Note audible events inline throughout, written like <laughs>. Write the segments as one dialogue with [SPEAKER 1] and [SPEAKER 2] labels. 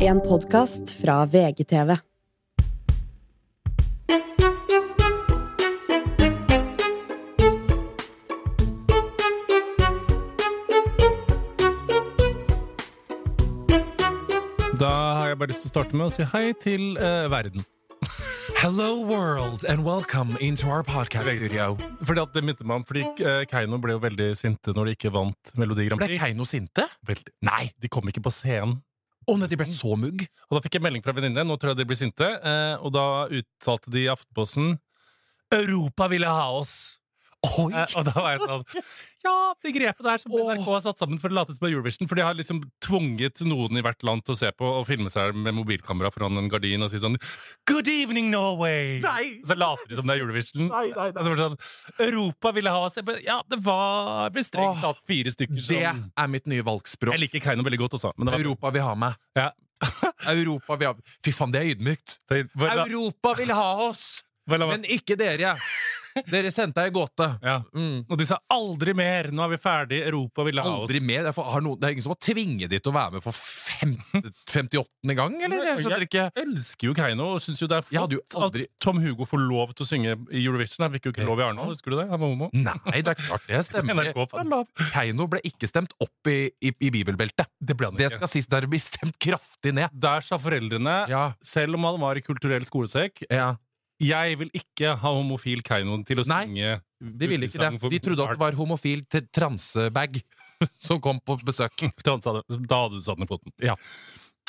[SPEAKER 1] en podkast fra VGTV.
[SPEAKER 2] Da har jeg bare lyst til å starte med å si hei til eh, verden.
[SPEAKER 3] Hello, world, and welcome into our podcast studio.
[SPEAKER 2] Fordi at det minte meg om, fordi eh, Keiino ble jo veldig sinte når de ikke vant Melodi Grand
[SPEAKER 3] Ble
[SPEAKER 2] Prix.
[SPEAKER 3] Keiino sinte?
[SPEAKER 2] Veldig. Nei, de kom ikke på scenen.
[SPEAKER 3] Å nei, de ble så mugg.
[SPEAKER 2] Og da fikk jeg melding fra venninne, nå tror jeg de blir sinte, eh, og da uttalte de i Aftenposten Europa ville ha oss!
[SPEAKER 3] Oi!
[SPEAKER 2] Eh, og da var jeg sånn Ja, det grepet der som NRK har satt sammen for å late som det er Eurovision. For de har liksom tvunget noen i hvert land til å se på og filme seg med mobilkamera foran en gardin og si sånn Good evening, Norway!
[SPEAKER 3] Nei!
[SPEAKER 2] Så later de som det er Eurovision. Og så var det sånn Europa ville ha oss Jeg bare, Ja, det var vel strengt tatt fire stykker
[SPEAKER 3] Det
[SPEAKER 2] som
[SPEAKER 3] er mitt nye valgspråk.
[SPEAKER 2] Jeg liker Keiino veldig godt også, men det var
[SPEAKER 3] Europa vil ha meg.
[SPEAKER 2] ja.
[SPEAKER 3] <laughs> Europa vil ha Fy faen, det er ydmykt.
[SPEAKER 2] det- bare la-
[SPEAKER 3] Europa vil ha
[SPEAKER 2] <laughs>
[SPEAKER 3] oss,
[SPEAKER 2] bare la meg-
[SPEAKER 3] men ikke dere. Dere sendte ei gåte.
[SPEAKER 2] ja.
[SPEAKER 3] Mm.
[SPEAKER 2] Og de sa 'aldri mer', nå er vi ferdig, Europa ville ha oss.
[SPEAKER 3] Aldri mer. Derfor har noen, det er ingen som har tvinget de til å være med for
[SPEAKER 2] <laughs>
[SPEAKER 3] fem, 58. gang, eller? Jeg skjønner ikke.
[SPEAKER 2] Jeg elsker jo Keiino og syns jo det er
[SPEAKER 3] Jeg hadde jo
[SPEAKER 2] flott
[SPEAKER 3] aldri-
[SPEAKER 2] at Tom Hugo får lov til å synge i Eurovision. Han fikk jo ikke lov i Arendal, husker du det? Han var homo.
[SPEAKER 3] Nei, det er klart det stemmer.
[SPEAKER 2] NRK får lov.
[SPEAKER 3] Keiino ble ikke stemt opp i, i, i bibelbeltet.
[SPEAKER 2] Det ble han
[SPEAKER 3] Det
[SPEAKER 2] ikke.
[SPEAKER 3] skal sist der bli stemt kraftig ned.
[SPEAKER 2] Der sa foreldrene,
[SPEAKER 3] Ja.
[SPEAKER 2] selv om han var i kulturell skolesekk,
[SPEAKER 3] Ja.
[SPEAKER 2] jeg vil ikke ha homofil Keiino til å
[SPEAKER 3] Nei,
[SPEAKER 2] synge
[SPEAKER 3] De ville ikke det. De trodde at det var homofil t- transebag <laughs> som kom på besøk.
[SPEAKER 2] <laughs> Da sa du- da hadde du satt ned foten.
[SPEAKER 3] Ja.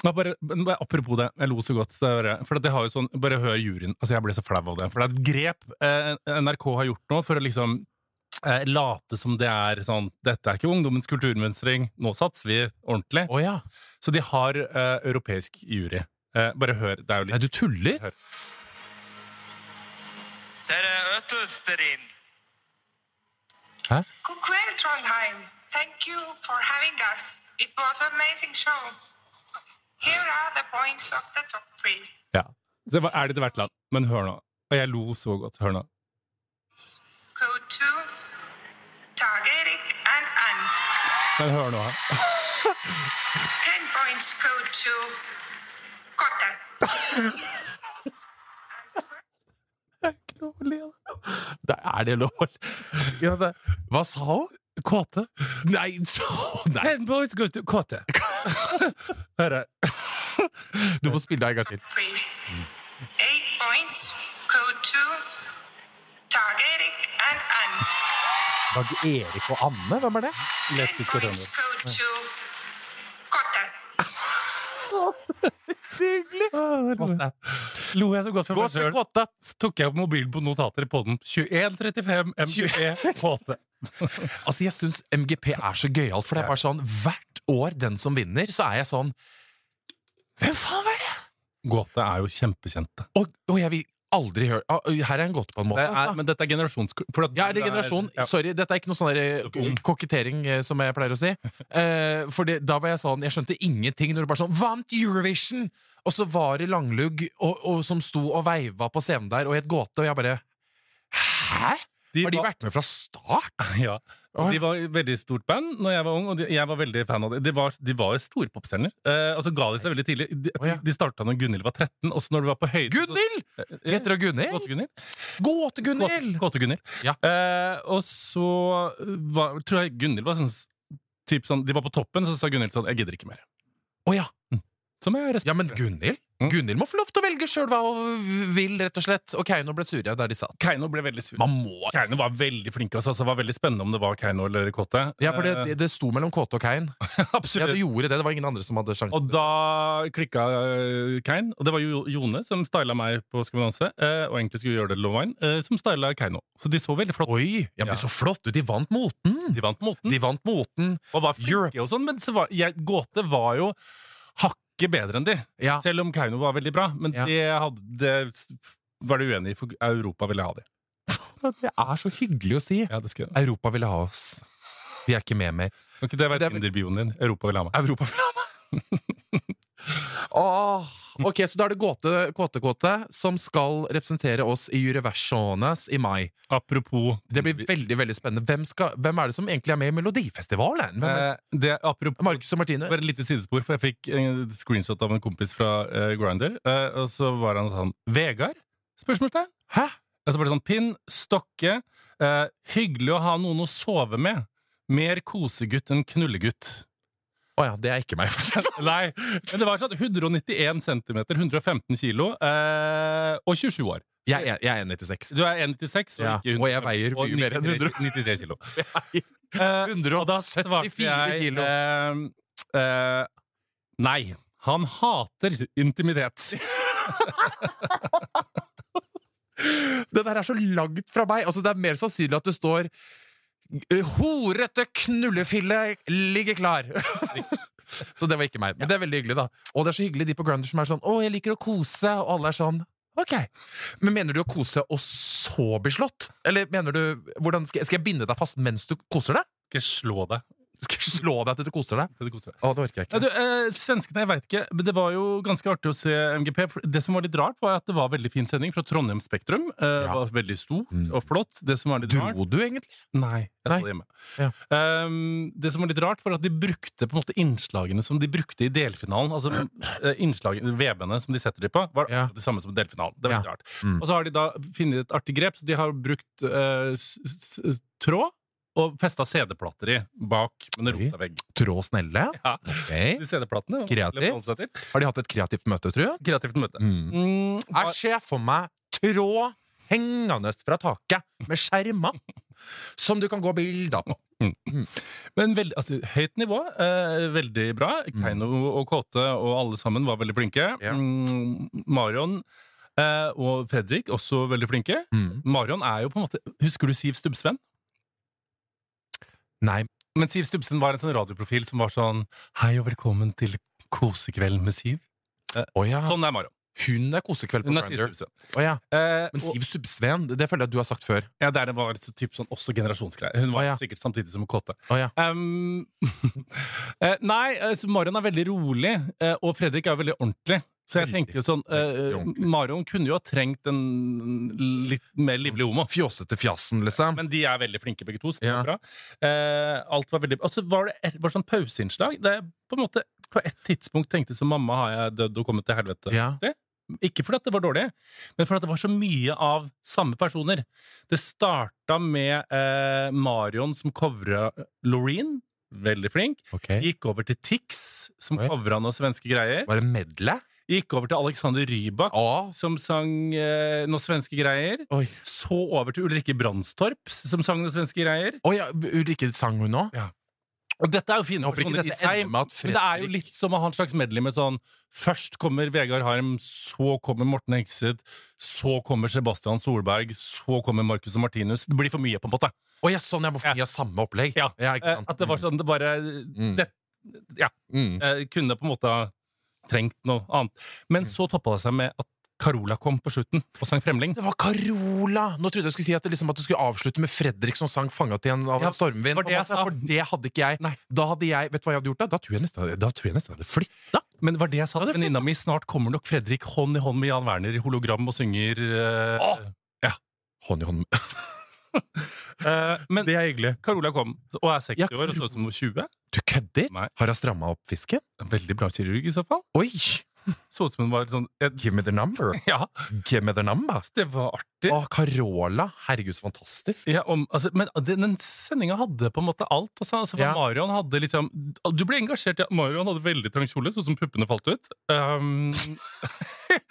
[SPEAKER 2] Men bare, men bare apropos det, jeg lo så godt. Det er- for det har jo sånn, bare hør juryen. Altså Jeg ble så flau av det. For det er et grep eh, NRK har gjort nå for å liksom eh, late som det er sånn Dette er ikke ungdommens kulturmønstring, nå satser vi ordentlig.
[SPEAKER 3] Å ja.
[SPEAKER 2] Så de har eh, europeisk jury. Eh, bare hør. Det er jo
[SPEAKER 3] Nei,
[SPEAKER 2] litt
[SPEAKER 3] du tuller?
[SPEAKER 4] Dere øteste din.
[SPEAKER 3] Hæ?
[SPEAKER 5] God kveld, Trondheim. Thank you for having us. It was an amazing show. Here are the points of the top three.
[SPEAKER 2] ja. Så det var ærlig til hvert land. Men hør nå. Og jeg lo så godt. Hør nå.
[SPEAKER 5] Code 2, Tagerik and Ann.
[SPEAKER 2] Men hør nå.
[SPEAKER 5] 10 points, code 2, Kotta.
[SPEAKER 3] Det er det lov? Ja, det. Hva sa hun?
[SPEAKER 2] Kåte.
[SPEAKER 3] Nei, sa hun nei.
[SPEAKER 2] Ten boys go to
[SPEAKER 3] <laughs>
[SPEAKER 2] Kåte. Hør her.
[SPEAKER 3] Du må spille deg en gang til.
[SPEAKER 5] 3. 8 points, code 2, Tagerik and Ann.
[SPEAKER 3] Dag Erik og Anne, hvem er det?
[SPEAKER 5] 10
[SPEAKER 2] Lesbisk og
[SPEAKER 5] points,
[SPEAKER 2] trans.
[SPEAKER 5] code 2, Kotta.
[SPEAKER 3] Ah, Kåte.
[SPEAKER 2] Lo jeg så godt for
[SPEAKER 3] Gå
[SPEAKER 2] meg
[SPEAKER 3] til
[SPEAKER 2] sjøl.
[SPEAKER 3] Kåte.
[SPEAKER 2] Så tok jeg opp mobilen på notater i podden. 2135 MGE E, Kåte.
[SPEAKER 3] Altså, jeg syns MGP er så gøyalt, for det er bare sånn hvert år den som vinner, så er jeg sånn Hvem faen var det?
[SPEAKER 2] Gåte er jo kjempekjente.
[SPEAKER 3] Og, og jeg vil aldri høre ah, Her er en gåte, på en måte.
[SPEAKER 2] Det
[SPEAKER 3] altså.
[SPEAKER 2] er, men dette er generasjons... for at-
[SPEAKER 3] Ja, er det generasjon?
[SPEAKER 2] Ja.
[SPEAKER 3] Sorry, dette er ikke noe sånn der, eh, kokettering, eh, som jeg pleier å si. Eh, for det, da var jeg sånn, jeg skjønte ingenting når du bare sånn Vant Eurovision! Og så var det Langlugg og, og, som sto og veiva på scenen der og i et gåte, og jeg bare Hæ?!
[SPEAKER 2] De
[SPEAKER 3] Har de
[SPEAKER 2] var-
[SPEAKER 3] vært med fra start?
[SPEAKER 2] <laughs> Ja. Og De var et veldig stort band når jeg var ung, og de, jeg var veldig fan av dem. De var, de var jo storpopstjerner. Eh, og så ga de seg veldig tidlig. De,
[SPEAKER 3] Å, ja.
[SPEAKER 2] de starta når Gunhild var 13, og så Eh, når du var på høyde
[SPEAKER 3] Gunhild! Heter hun Gunhild?
[SPEAKER 2] Gåte-Gunhild.
[SPEAKER 3] Gåte-Gunhild!
[SPEAKER 2] Gåte-Gunhild.
[SPEAKER 3] Ja.
[SPEAKER 2] Eh, og så var, tror jeg Gunhild var sånn, s- typ sånn De var på toppen, så sa Gunhild sånn Jeg gidder ikke mer.
[SPEAKER 3] Å ja.
[SPEAKER 2] Som jeg respekterer.
[SPEAKER 3] ja, men Gunhild?
[SPEAKER 2] Mm.
[SPEAKER 3] Gunhild må få lov til å velge sjøl hva hun vil, rett og slett. Og Keiino ble sure der de satt.
[SPEAKER 2] Keiino ble veldig sur.
[SPEAKER 3] Man må
[SPEAKER 2] Keiino var veldig flink. Altså, altså, det var veldig spennende om det var Keiino eller Kåte.
[SPEAKER 3] Ja, for det,
[SPEAKER 2] Eh,
[SPEAKER 3] det, det sto mellom Kåte og
[SPEAKER 2] <laughs>
[SPEAKER 3] Kein. Ja,
[SPEAKER 2] absolutt.
[SPEAKER 3] det gjorde det. Det var ingen andre som hadde sjansen.
[SPEAKER 2] Og da klikka eh, Kein, og det var jo Jone som styla meg på Skal vi danse, eh, og egentlig skulle gjøre det til Love Line, eh, som styla Keino. Så de så veldig flott
[SPEAKER 3] Oi! Ja, men
[SPEAKER 2] Ja.
[SPEAKER 3] De så flott ut! De vant moten!
[SPEAKER 2] De vant moten,
[SPEAKER 3] De vant moten.
[SPEAKER 2] og var flinke og sånn, men så var, jeg, Gåte var jo hakket bedre enn de.
[SPEAKER 3] Ja.
[SPEAKER 2] Selv om Keiino var veldig bra, men
[SPEAKER 3] Ja.
[SPEAKER 2] det, hadde, det s- var det uenig i, for Europa ville ha de.
[SPEAKER 3] Det er så hyggelig å si!
[SPEAKER 2] Ja, det skal jeg.
[SPEAKER 3] Europa ville ha oss. Vi er ikke med mer.
[SPEAKER 2] Kan ikke det være
[SPEAKER 3] Det
[SPEAKER 2] <laughs>
[SPEAKER 3] er-
[SPEAKER 2] Tinder-bioen din? Europa ville ha meg.
[SPEAKER 3] Europa ville ha meg! Åh, Ok, Så da er det Gåte Kåte Kåte som skal representere oss i Eurovisiones i mai.
[SPEAKER 2] Apropos
[SPEAKER 3] Det blir veldig veldig spennende. Hvem, skal, hvem er det som egentlig er med i Melodifestivalen? Hvem er det?
[SPEAKER 2] eh, det, apropos,
[SPEAKER 3] Marcus og Martine.
[SPEAKER 2] Bare et lite sidespor, for jeg fikk en screenshot av en kompis fra eh, Grindr. eh, og så var han sånn Vegard? Spørsmålstegn.
[SPEAKER 3] Hæ?
[SPEAKER 2] Og så var det sånn Pinn, Stokke. eh, hyggelig å ha noen å sove med. Mer kosegutt enn
[SPEAKER 3] <laughs>
[SPEAKER 2] knullegutt.
[SPEAKER 3] Å ja, det er ikke meg. for å si det sånn.
[SPEAKER 2] Nei, men det var sånn 191 cm, 115 kilo, eh, og 27 år.
[SPEAKER 3] sånn. Jeg, er- jeg er 96.
[SPEAKER 2] Du er 1,96 og
[SPEAKER 3] Ja,
[SPEAKER 2] ikke 100,
[SPEAKER 3] og jeg veier mye mer enn 100.
[SPEAKER 2] 93
[SPEAKER 3] <laughs>
[SPEAKER 2] kilo. Eh, og da svarte
[SPEAKER 3] 174
[SPEAKER 2] jeg,
[SPEAKER 3] kilo.
[SPEAKER 2] eh, eh, nei, han hater
[SPEAKER 3] <laughs>
[SPEAKER 2] intimitet.
[SPEAKER 3] Det der er så langt fra meg. Altså, det er mer sannsynlig at det står eh, Horete knullefille ligger klar! <laughs> så det var ikke meg. Men det er veldig hyggelig, da. Og det er så hyggelig de på Grindr som er sånn 'Å, jeg liker å kose', og alle er sånn Ok. Men mener du å kose og så bli slått? Eller mener du hvordan, skal, jeg- skal jeg binde deg fast mens du koser deg?
[SPEAKER 2] Ikke slå deg.
[SPEAKER 3] Skal jeg slå deg til du koser deg?
[SPEAKER 2] til det koser deg.
[SPEAKER 3] Å, det orker jeg
[SPEAKER 2] Nei,
[SPEAKER 3] ikke.
[SPEAKER 2] du, eh, svenskene, jeg vet ikke, men det var jo ganske artig å se MGP. For det som var litt rart, var at det var veldig fin sending fra Trondheim Spektrum. Eh,
[SPEAKER 3] Ja.
[SPEAKER 2] var veldig stor
[SPEAKER 3] Mm.
[SPEAKER 2] og flott. Det som var litt rart
[SPEAKER 3] Dro du egentlig?
[SPEAKER 2] Nei, jeg
[SPEAKER 3] Nei.
[SPEAKER 2] så det hjemme.
[SPEAKER 3] Ja.
[SPEAKER 2] Ehm, det som var litt rart, var at de brukte på en måte innslagene som de brukte i delfinalen. Altså eh, innslagene, vebene som de setter de på, var
[SPEAKER 3] Ja.
[SPEAKER 2] akkurat det samme som delfinalen. Det var
[SPEAKER 3] Ja.
[SPEAKER 2] litt rart.
[SPEAKER 3] Mm.
[SPEAKER 2] Og så har de da funnet et artig grep, så de har brukt eh, s s tråd og festa CD-plater i bak med en
[SPEAKER 3] Oi.
[SPEAKER 2] rosa vegg.
[SPEAKER 3] Trå snelle?
[SPEAKER 2] Ja.
[SPEAKER 3] Ok.
[SPEAKER 2] De CD-platene var
[SPEAKER 3] Kreativt.
[SPEAKER 2] vanskelig å forholde seg til.
[SPEAKER 3] Har de hatt et kreativt møte, tror jeg?
[SPEAKER 2] Kreativt møte.
[SPEAKER 3] Mm.
[SPEAKER 2] Mm,
[SPEAKER 3] Jeg ser for meg tråd hengende fra taket med skjermer som du kan gå bilder på.
[SPEAKER 2] Men veld, altså, høyt nivå, eh, veldig bra. Keiino og Kåte og alle sammen var veldig flinke.
[SPEAKER 3] Mm. Ja.
[SPEAKER 2] Mm, Marion eh, og Fredrik også veldig flinke. Marion er jo på en måte Husker du Siv Stubbsvenn?
[SPEAKER 3] Nei,
[SPEAKER 2] Men Siv Stubbsvenn var en sånn radioprofil som var sånn Hei og velkommen til kosekveld med Siv.
[SPEAKER 3] å ja.
[SPEAKER 2] Sånn er Marion.
[SPEAKER 3] Hun er kosekveld på
[SPEAKER 2] Hun er Siv
[SPEAKER 3] Grindr.
[SPEAKER 2] Stubbsvenn.
[SPEAKER 3] Å ja.
[SPEAKER 2] Eh,
[SPEAKER 3] Men
[SPEAKER 2] og-
[SPEAKER 3] Siv Subsveen, det føler jeg at du har sagt før.
[SPEAKER 2] Ja, det er det var så typ sånn også generasjonsgreier. Hun var
[SPEAKER 3] Å, ja.
[SPEAKER 2] sikkert samtidig som Kåte.
[SPEAKER 3] Å ja.
[SPEAKER 2] Um, <laughs> eh, nei, altså, Marion er veldig rolig, eh, og Fredrik er veldig ordentlig. Så jeg
[SPEAKER 3] Veldig,
[SPEAKER 2] tenker jo sånn eh,
[SPEAKER 3] veldig ordentlig.
[SPEAKER 2] Marion kunne jo ha trengt en litt mer livlig homo.
[SPEAKER 3] Fjåsete fjassen, liksom.
[SPEAKER 2] Men de er veldig flinke, begge to. Så det var
[SPEAKER 3] Ja.
[SPEAKER 2] bra. Eh, alt var veldig Og så var det et var sånn pauseinnslag der jeg på en måte på et tidspunkt tenkte som mamma har jeg dødd og kommet til helvete.
[SPEAKER 3] Ja.
[SPEAKER 2] Ikke fordi at det var dårlig, men fordi at det var så mye av samme personer. Det starta med eh, Marion som covra Loreen. Veldig flink.
[SPEAKER 3] Ok.
[SPEAKER 2] Gikk over til Tix, som
[SPEAKER 3] Oi.
[SPEAKER 2] covra noen svenske greier.
[SPEAKER 3] Var det medley?
[SPEAKER 2] Gikk over til Alexander Rybak,
[SPEAKER 3] Å.
[SPEAKER 2] som sang eh, noen svenske greier.
[SPEAKER 3] Oi.
[SPEAKER 2] Så over til Ulrikke Brandstorp, som sang noen svenske greier.
[SPEAKER 3] Å ja, Ulrikke sang hun nå?
[SPEAKER 2] Og dette er jo
[SPEAKER 3] Jeg
[SPEAKER 2] fine
[SPEAKER 3] håper ikke
[SPEAKER 2] personer sånn i
[SPEAKER 3] dette
[SPEAKER 2] seg,
[SPEAKER 3] ender med at
[SPEAKER 2] men det er jo
[SPEAKER 3] Fredrik
[SPEAKER 2] litt som å ha en slags medley med sånn Først kommer Vegard Harm, så kommer Morten Hegseth, så kommer Sebastian Solberg, så kommer Marcus og Martinus. Det blir for mye, på en måte.
[SPEAKER 3] Å ja, sånn, jeg må få gi samme opplegg.
[SPEAKER 2] Ja.
[SPEAKER 3] ikke
[SPEAKER 2] Eh,
[SPEAKER 3] sant?
[SPEAKER 2] At det var sånn det bare
[SPEAKER 3] Mm.
[SPEAKER 2] det, Ja.
[SPEAKER 3] Mm.
[SPEAKER 2] eh, Kunne på en måte ha trengt noe annet. Men så toppa det seg med at Carola kom på slutten og sang Fremling.
[SPEAKER 3] Det var Carola! Nå trodde jeg skulle si at, det liksom, at du skulle avslutte med Fredrik som sang 'Fanga til en av
[SPEAKER 2] Ja,
[SPEAKER 3] en stormvind'.
[SPEAKER 2] for det jeg sa.
[SPEAKER 3] for det hadde ikke jeg.
[SPEAKER 2] Nei.
[SPEAKER 3] Da hadde jeg, Vet du hva jeg hadde gjort da? Da tror jeg nesten, da tror jeg nesten jeg hadde flytta.
[SPEAKER 2] Men det var det jeg sa til venninna mi. Snart kommer nok Fredrik hånd i hånd med Jan Werner i hologram og synger eh,
[SPEAKER 3] Åh! Hånd i hånd. med-
[SPEAKER 2] eh, Men
[SPEAKER 3] Det er hyggelig.
[SPEAKER 2] Carola kom og er 60
[SPEAKER 3] Ja,
[SPEAKER 2] år og så ut som hun var 20.
[SPEAKER 3] Du kødder?
[SPEAKER 2] Nei.
[SPEAKER 3] Har hun stramma opp fisken?
[SPEAKER 2] Veldig bra kirurg i så fall.
[SPEAKER 3] Oi!
[SPEAKER 2] Så ut som hun var litt sånn eh,
[SPEAKER 3] Give me the number.
[SPEAKER 2] <laughs> Ja,
[SPEAKER 3] Give me the number.
[SPEAKER 2] det var artig.
[SPEAKER 3] Å, Carola. Herregud, så fantastisk.
[SPEAKER 2] Ja, om, altså, men den, den sendinga hadde på en måte alt. Og så, altså, for
[SPEAKER 3] Ja.
[SPEAKER 2] Marion hadde liksom Du ble engasjert. Ja. Marion hadde veldig trang kjole, sånn som puppene falt ut. Um, <laughs>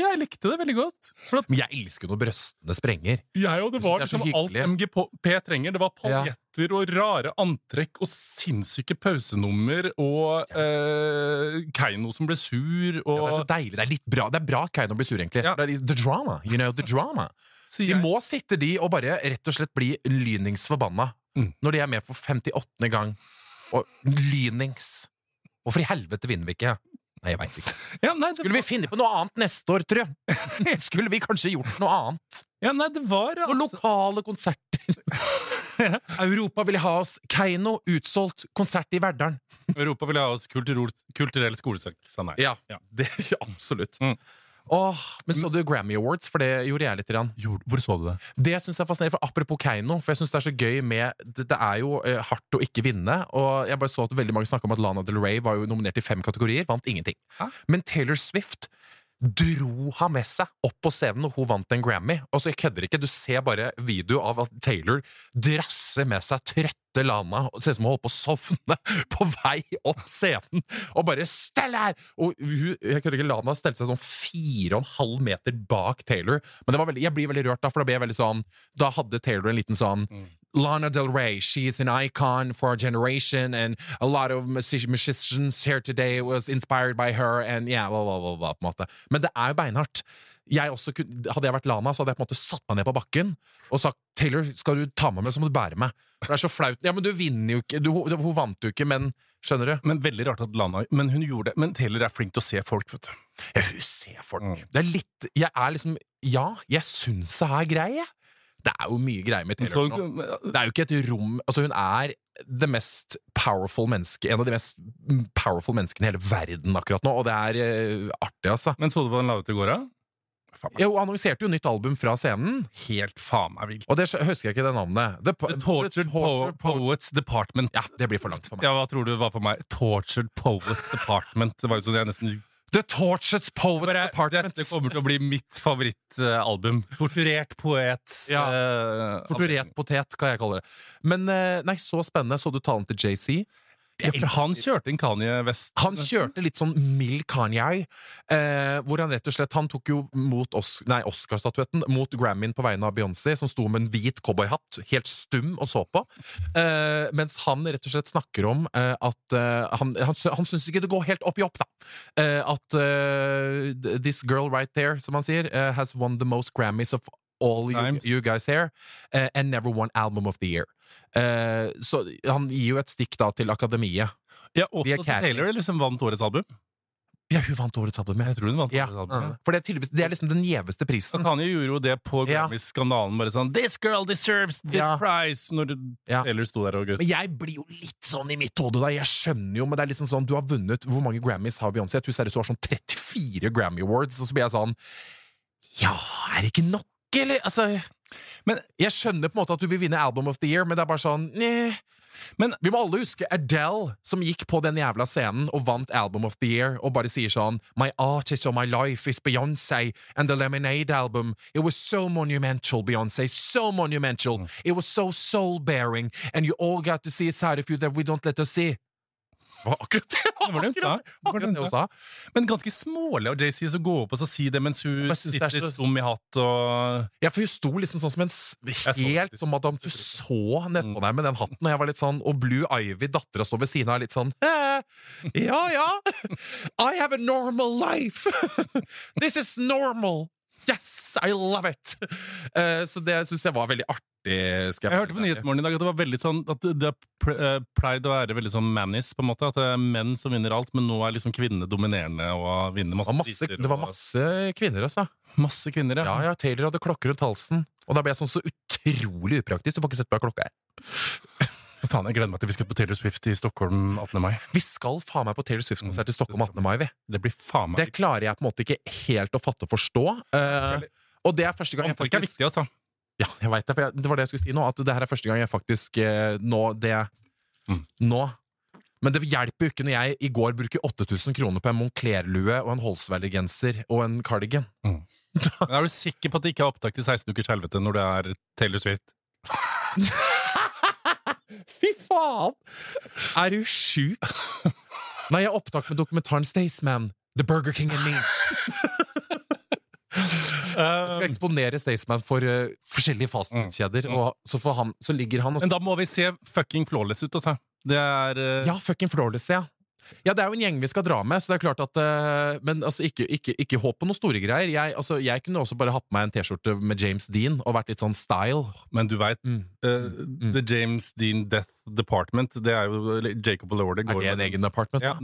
[SPEAKER 2] jeg likte det veldig godt. For at
[SPEAKER 3] Men jeg elsker jo når brøstene sprenger.
[SPEAKER 2] jeg og det
[SPEAKER 3] Jeg synes
[SPEAKER 2] var
[SPEAKER 3] det er så
[SPEAKER 2] liksom alt
[SPEAKER 3] hyggelig.
[SPEAKER 2] MGP trenger. Det var
[SPEAKER 3] Ja.
[SPEAKER 2] paljetter og rare antrekk og sinnssyke pausenummer og eh, Keiino som ble sur
[SPEAKER 3] Ja, det er
[SPEAKER 2] og
[SPEAKER 3] så deilig. Det er litt bra Det er bra at Keiino blir sur, egentlig.
[SPEAKER 2] Ja.
[SPEAKER 3] Det er litt the drama. You know, the drama.
[SPEAKER 2] Så
[SPEAKER 3] De
[SPEAKER 2] jeg-
[SPEAKER 3] må sitte, de, og bare rett og slett bli lyningsforbanna
[SPEAKER 2] Mm.
[SPEAKER 3] når de er med for 58. gang. Og lynings. Hvorfor i helvete vinner vi ikke? Nei, jeg veit ikke.
[SPEAKER 2] ja, nei, det,
[SPEAKER 3] Skulle vi finne på noe annet <laughs> neste år, tror jeg? Skulle vi kanskje gjort noe annet?
[SPEAKER 2] ja, nei, det var altså-
[SPEAKER 3] Noen lokale konserter?
[SPEAKER 2] <laughs>
[SPEAKER 3] Europa ville ha oss. Keiino utsolgt. Konsert i Verdalen.
[SPEAKER 2] Europa vil ha oss kulturell, kulturell skolesak, sa nei.
[SPEAKER 3] Ja, det, absolutt.
[SPEAKER 2] Mm.
[SPEAKER 3] Åh, men så du Grammy Awards, for det gjorde jeg litt. Grann.
[SPEAKER 2] Gjorde- Hvor så du det?
[SPEAKER 3] Det synes jeg er fascinerende, for Apropos Keiino, for jeg synes det er så gøy med Det, det er jo eh, hardt å ikke vinne, og jeg bare så at veldig mange snakka om at Lana Del Rey var jo nominert i fem kategorier, vant ingenting.
[SPEAKER 2] Hæ?
[SPEAKER 3] Men Taylor Swift dro han med seg opp på scenen, og hun vant en Grammy. Og så jeg kødder ikke, du ser bare video av at Taylor drasser med seg trøtte Lana, og det ser ut som hun holder på å sovne <laughs> på vei opp scenen, og bare 'Stell her!' Og hun, jeg kødder ikke, Lana stelte seg sånn fire og en halv meter bak Taylor. Men det var veldig, jeg blir veldig rørt da, for da ble jeg veldig sånn Da hadde Taylor en liten sånn Lana Del Rey, she is an icon for our generation, and a lot of music- musicians here today was inspired by her, and yeah, blah, blah, blah, blah, på en måte. Men det er jo beinhardt. Jeg også kunne, hadde jeg vært Lana, så hadde jeg på en måte satt meg ned på bakken og sagt Taylor, skal du ta meg med, så må du bære meg. For det er så flaut. Ja, men du vinner jo ikke. Du, hun hun vant jo ikke, men skjønner du?
[SPEAKER 2] Men veldig rart at Lana Men hun gjorde det. Men Taylor er flink til å se folk, vet du.
[SPEAKER 3] Ja, hun ser folk.
[SPEAKER 2] Mm.
[SPEAKER 3] Det er litt Jeg er liksom Ja, jeg syns jeg er grei, jeg. Det er jo mye greier med
[SPEAKER 2] Så,
[SPEAKER 3] Taylor. nå. Det er jo ikke et rom Altså Hun er det mest powerful menneske en av de mest powerful menneskene i hele verden akkurat nå, og det er eh, artig, altså.
[SPEAKER 2] men så du hva hun la ut i går, da? Faen meg.
[SPEAKER 3] Jo, annonserte jo nytt album fra scenen,
[SPEAKER 2] Helt faen meg vilt.
[SPEAKER 3] og det skj- husker jeg ikke det navnet. The, po-
[SPEAKER 2] The Tortured po
[SPEAKER 3] Tortured Po-
[SPEAKER 2] Poets Department.
[SPEAKER 3] Ja, det blir for langt for meg.
[SPEAKER 2] Ja, hva tror du var for meg? Tortured Poets Department. Det var jo sånn jeg nesten
[SPEAKER 3] The Tortured Poets
[SPEAKER 2] Bare,
[SPEAKER 3] Department.
[SPEAKER 2] Dette kommer til å bli mitt favorittalbum. Torturert poet.
[SPEAKER 3] Ja.
[SPEAKER 2] eh,
[SPEAKER 3] Torturert potet, kan jeg kalle det. Men eh, nei, så spennende. Så du talen til JC?
[SPEAKER 2] album. Ja, for Han kjørte inn Kanye West.
[SPEAKER 3] Han kjørte litt sånn mild Kanye, eh, hvor han rett og slett Han tok jo mot Os nei, Oscar-statuetten mot Grammyen på vegne av Beyoncé, som sto med en hvit cowboyhatt, helt stum og så på. Eh, mens han rett og slett snakker om eh, at eh, han, han, sy- han syns ikke det går helt opp i opp, da. Eh, at eh, this girl right there, som han sier, eh, has won the most Grammys of all you,
[SPEAKER 2] Times.
[SPEAKER 3] you guys here, eh, and never won album of the year. Eh, så han gir jo et stikk da til akademiet.
[SPEAKER 2] Ja, også
[SPEAKER 3] Vi er
[SPEAKER 2] til
[SPEAKER 3] catty.
[SPEAKER 2] Taylor liksom vant årets album.
[SPEAKER 3] Ja, hun vant årets album.
[SPEAKER 2] Jeg tror hun vant
[SPEAKER 3] Ja. Mm.
[SPEAKER 2] årets album. ja.
[SPEAKER 3] For det er, tydeligvis, det er liksom den gjeveste
[SPEAKER 2] Og
[SPEAKER 3] prisen.
[SPEAKER 2] Kanye gjorde jo det på
[SPEAKER 3] Ja.
[SPEAKER 2] Grammy-skandalen. Bare sånn 'This girl deserves this
[SPEAKER 3] Ja.
[SPEAKER 2] prize!' Når
[SPEAKER 3] Ja.
[SPEAKER 2] Taylor sto der og
[SPEAKER 3] Men jeg blir jo litt sånn i mitt hode, da. Jeg skjønner jo, men det er liksom sånn Du har vunnet Hvor mange Grammys har Beyoncé? Jeg tror seriøst hun har sånn 34 Grammy Awards, og så blir jeg sånn Ja, er det ikke nok, eller? Altså Men jeg skjønner på en måte at du vil vinne Album of the Year, men det er bare sånn Neh.
[SPEAKER 2] Men-
[SPEAKER 3] vi må alle huske Adele, som gikk på den jævla scenen og vant Album of the Year, og bare sier sånn My artist of my life is Beyoncé and the Lemonade album. It was so monumental, Beyoncé. So monumental.
[SPEAKER 2] Mm.
[SPEAKER 3] It was so soul-bearing. And you all got to see a side of you that we don't let us see. Det var akkurat det,
[SPEAKER 2] Det var det hun sa. Det var det
[SPEAKER 3] akkurat
[SPEAKER 2] hun
[SPEAKER 3] det hun
[SPEAKER 2] sa.
[SPEAKER 3] sa.
[SPEAKER 2] Men ganske smålig av JC å gå opp og så si det mens hun
[SPEAKER 3] Jeg synes det er
[SPEAKER 2] sitter
[SPEAKER 3] så-
[SPEAKER 2] stum i hatt og
[SPEAKER 3] Ja, for hun sto liksom sånn som en s-
[SPEAKER 2] så
[SPEAKER 3] Helt
[SPEAKER 2] faktisk-
[SPEAKER 3] som Madame Tussauds nedpå deg med den hatten. Og jeg var litt sånn Og Blue Ivy, dattera, står ved siden av litt sånn «Eh, Ja, ja! I have a normal life! This is normal! Yes, I love it! Eh, Så det syns jeg var veldig artig. Skal
[SPEAKER 2] Jeg
[SPEAKER 3] jeg,
[SPEAKER 2] hørte på Nyhetsmorgen i dag at det var veldig sånn At det- det pr- eh, pleide å være veldig sånn mannis, på en måte. At det er menn som vinner alt, men nå er liksom kvinnene dominerende og vinner
[SPEAKER 3] Det
[SPEAKER 2] masse
[SPEAKER 3] var masse,
[SPEAKER 2] priser.
[SPEAKER 3] det var
[SPEAKER 2] og-
[SPEAKER 3] masse kvinner, altså.
[SPEAKER 2] masse kvinner,
[SPEAKER 3] Ja, ja, Taylor hadde klokke rundt halsen. Og da ble jeg sånn så utrolig upraktisk. Du får ikke sett på hva klokka er.
[SPEAKER 2] Faen, jeg gleder meg til vi skal på Taylor Swift i Stockholm 18. mai.
[SPEAKER 3] Vi skal faen meg på Taylor Swift-konsert i Stockholm 18. mai, vi.
[SPEAKER 2] Det blir faen
[SPEAKER 3] Det
[SPEAKER 2] meg
[SPEAKER 3] klarer jeg på en måte ikke helt å fatte og forstå. Eh, og det er første gang jeg
[SPEAKER 2] Folk er
[SPEAKER 3] faktisk
[SPEAKER 2] viktige, altså.
[SPEAKER 3] Ja, jeg vet det, for jeg, det var det jeg skulle si nå, at det her er første gang jeg faktisk eh, nå det Nå. Men det hjelper jo ikke når jeg i går bruker 8000 kroner på en Moncler-lue og en Holsweiler-genser og en cardigan.
[SPEAKER 2] Men er du sikker på at det ikke er opptak til 16 ukers helvete når det er Taylor Swift?
[SPEAKER 3] Fy faen! Er du sjuk? Nei, jeg er opptak med dokumentaren Staysman. The Burger King and Me. Jeg skal eksponere Staysman for eh, forskjellige fastfood-kjeder, og så, får han, så ligger han og
[SPEAKER 2] Mm. Men da må vi se fucking flawless ut, altså. Det er eh,
[SPEAKER 3] Ja, fucking flawless, ja. Ja, det er jo en gjeng vi skal dra med, så det er klart at eh, Men altså, ikke, ikke, ikke håp på noen store greier. Jeg, altså, jeg kunne også bare hatt på meg en T-skjorte med James Dean og vært litt sånn style.
[SPEAKER 2] Men du veit,
[SPEAKER 3] Mm.
[SPEAKER 2] The James Dean Death Department, det er jo eller Jacob Lordy
[SPEAKER 3] Er
[SPEAKER 2] går
[SPEAKER 3] det
[SPEAKER 2] med
[SPEAKER 3] en egen apartment?
[SPEAKER 2] ja,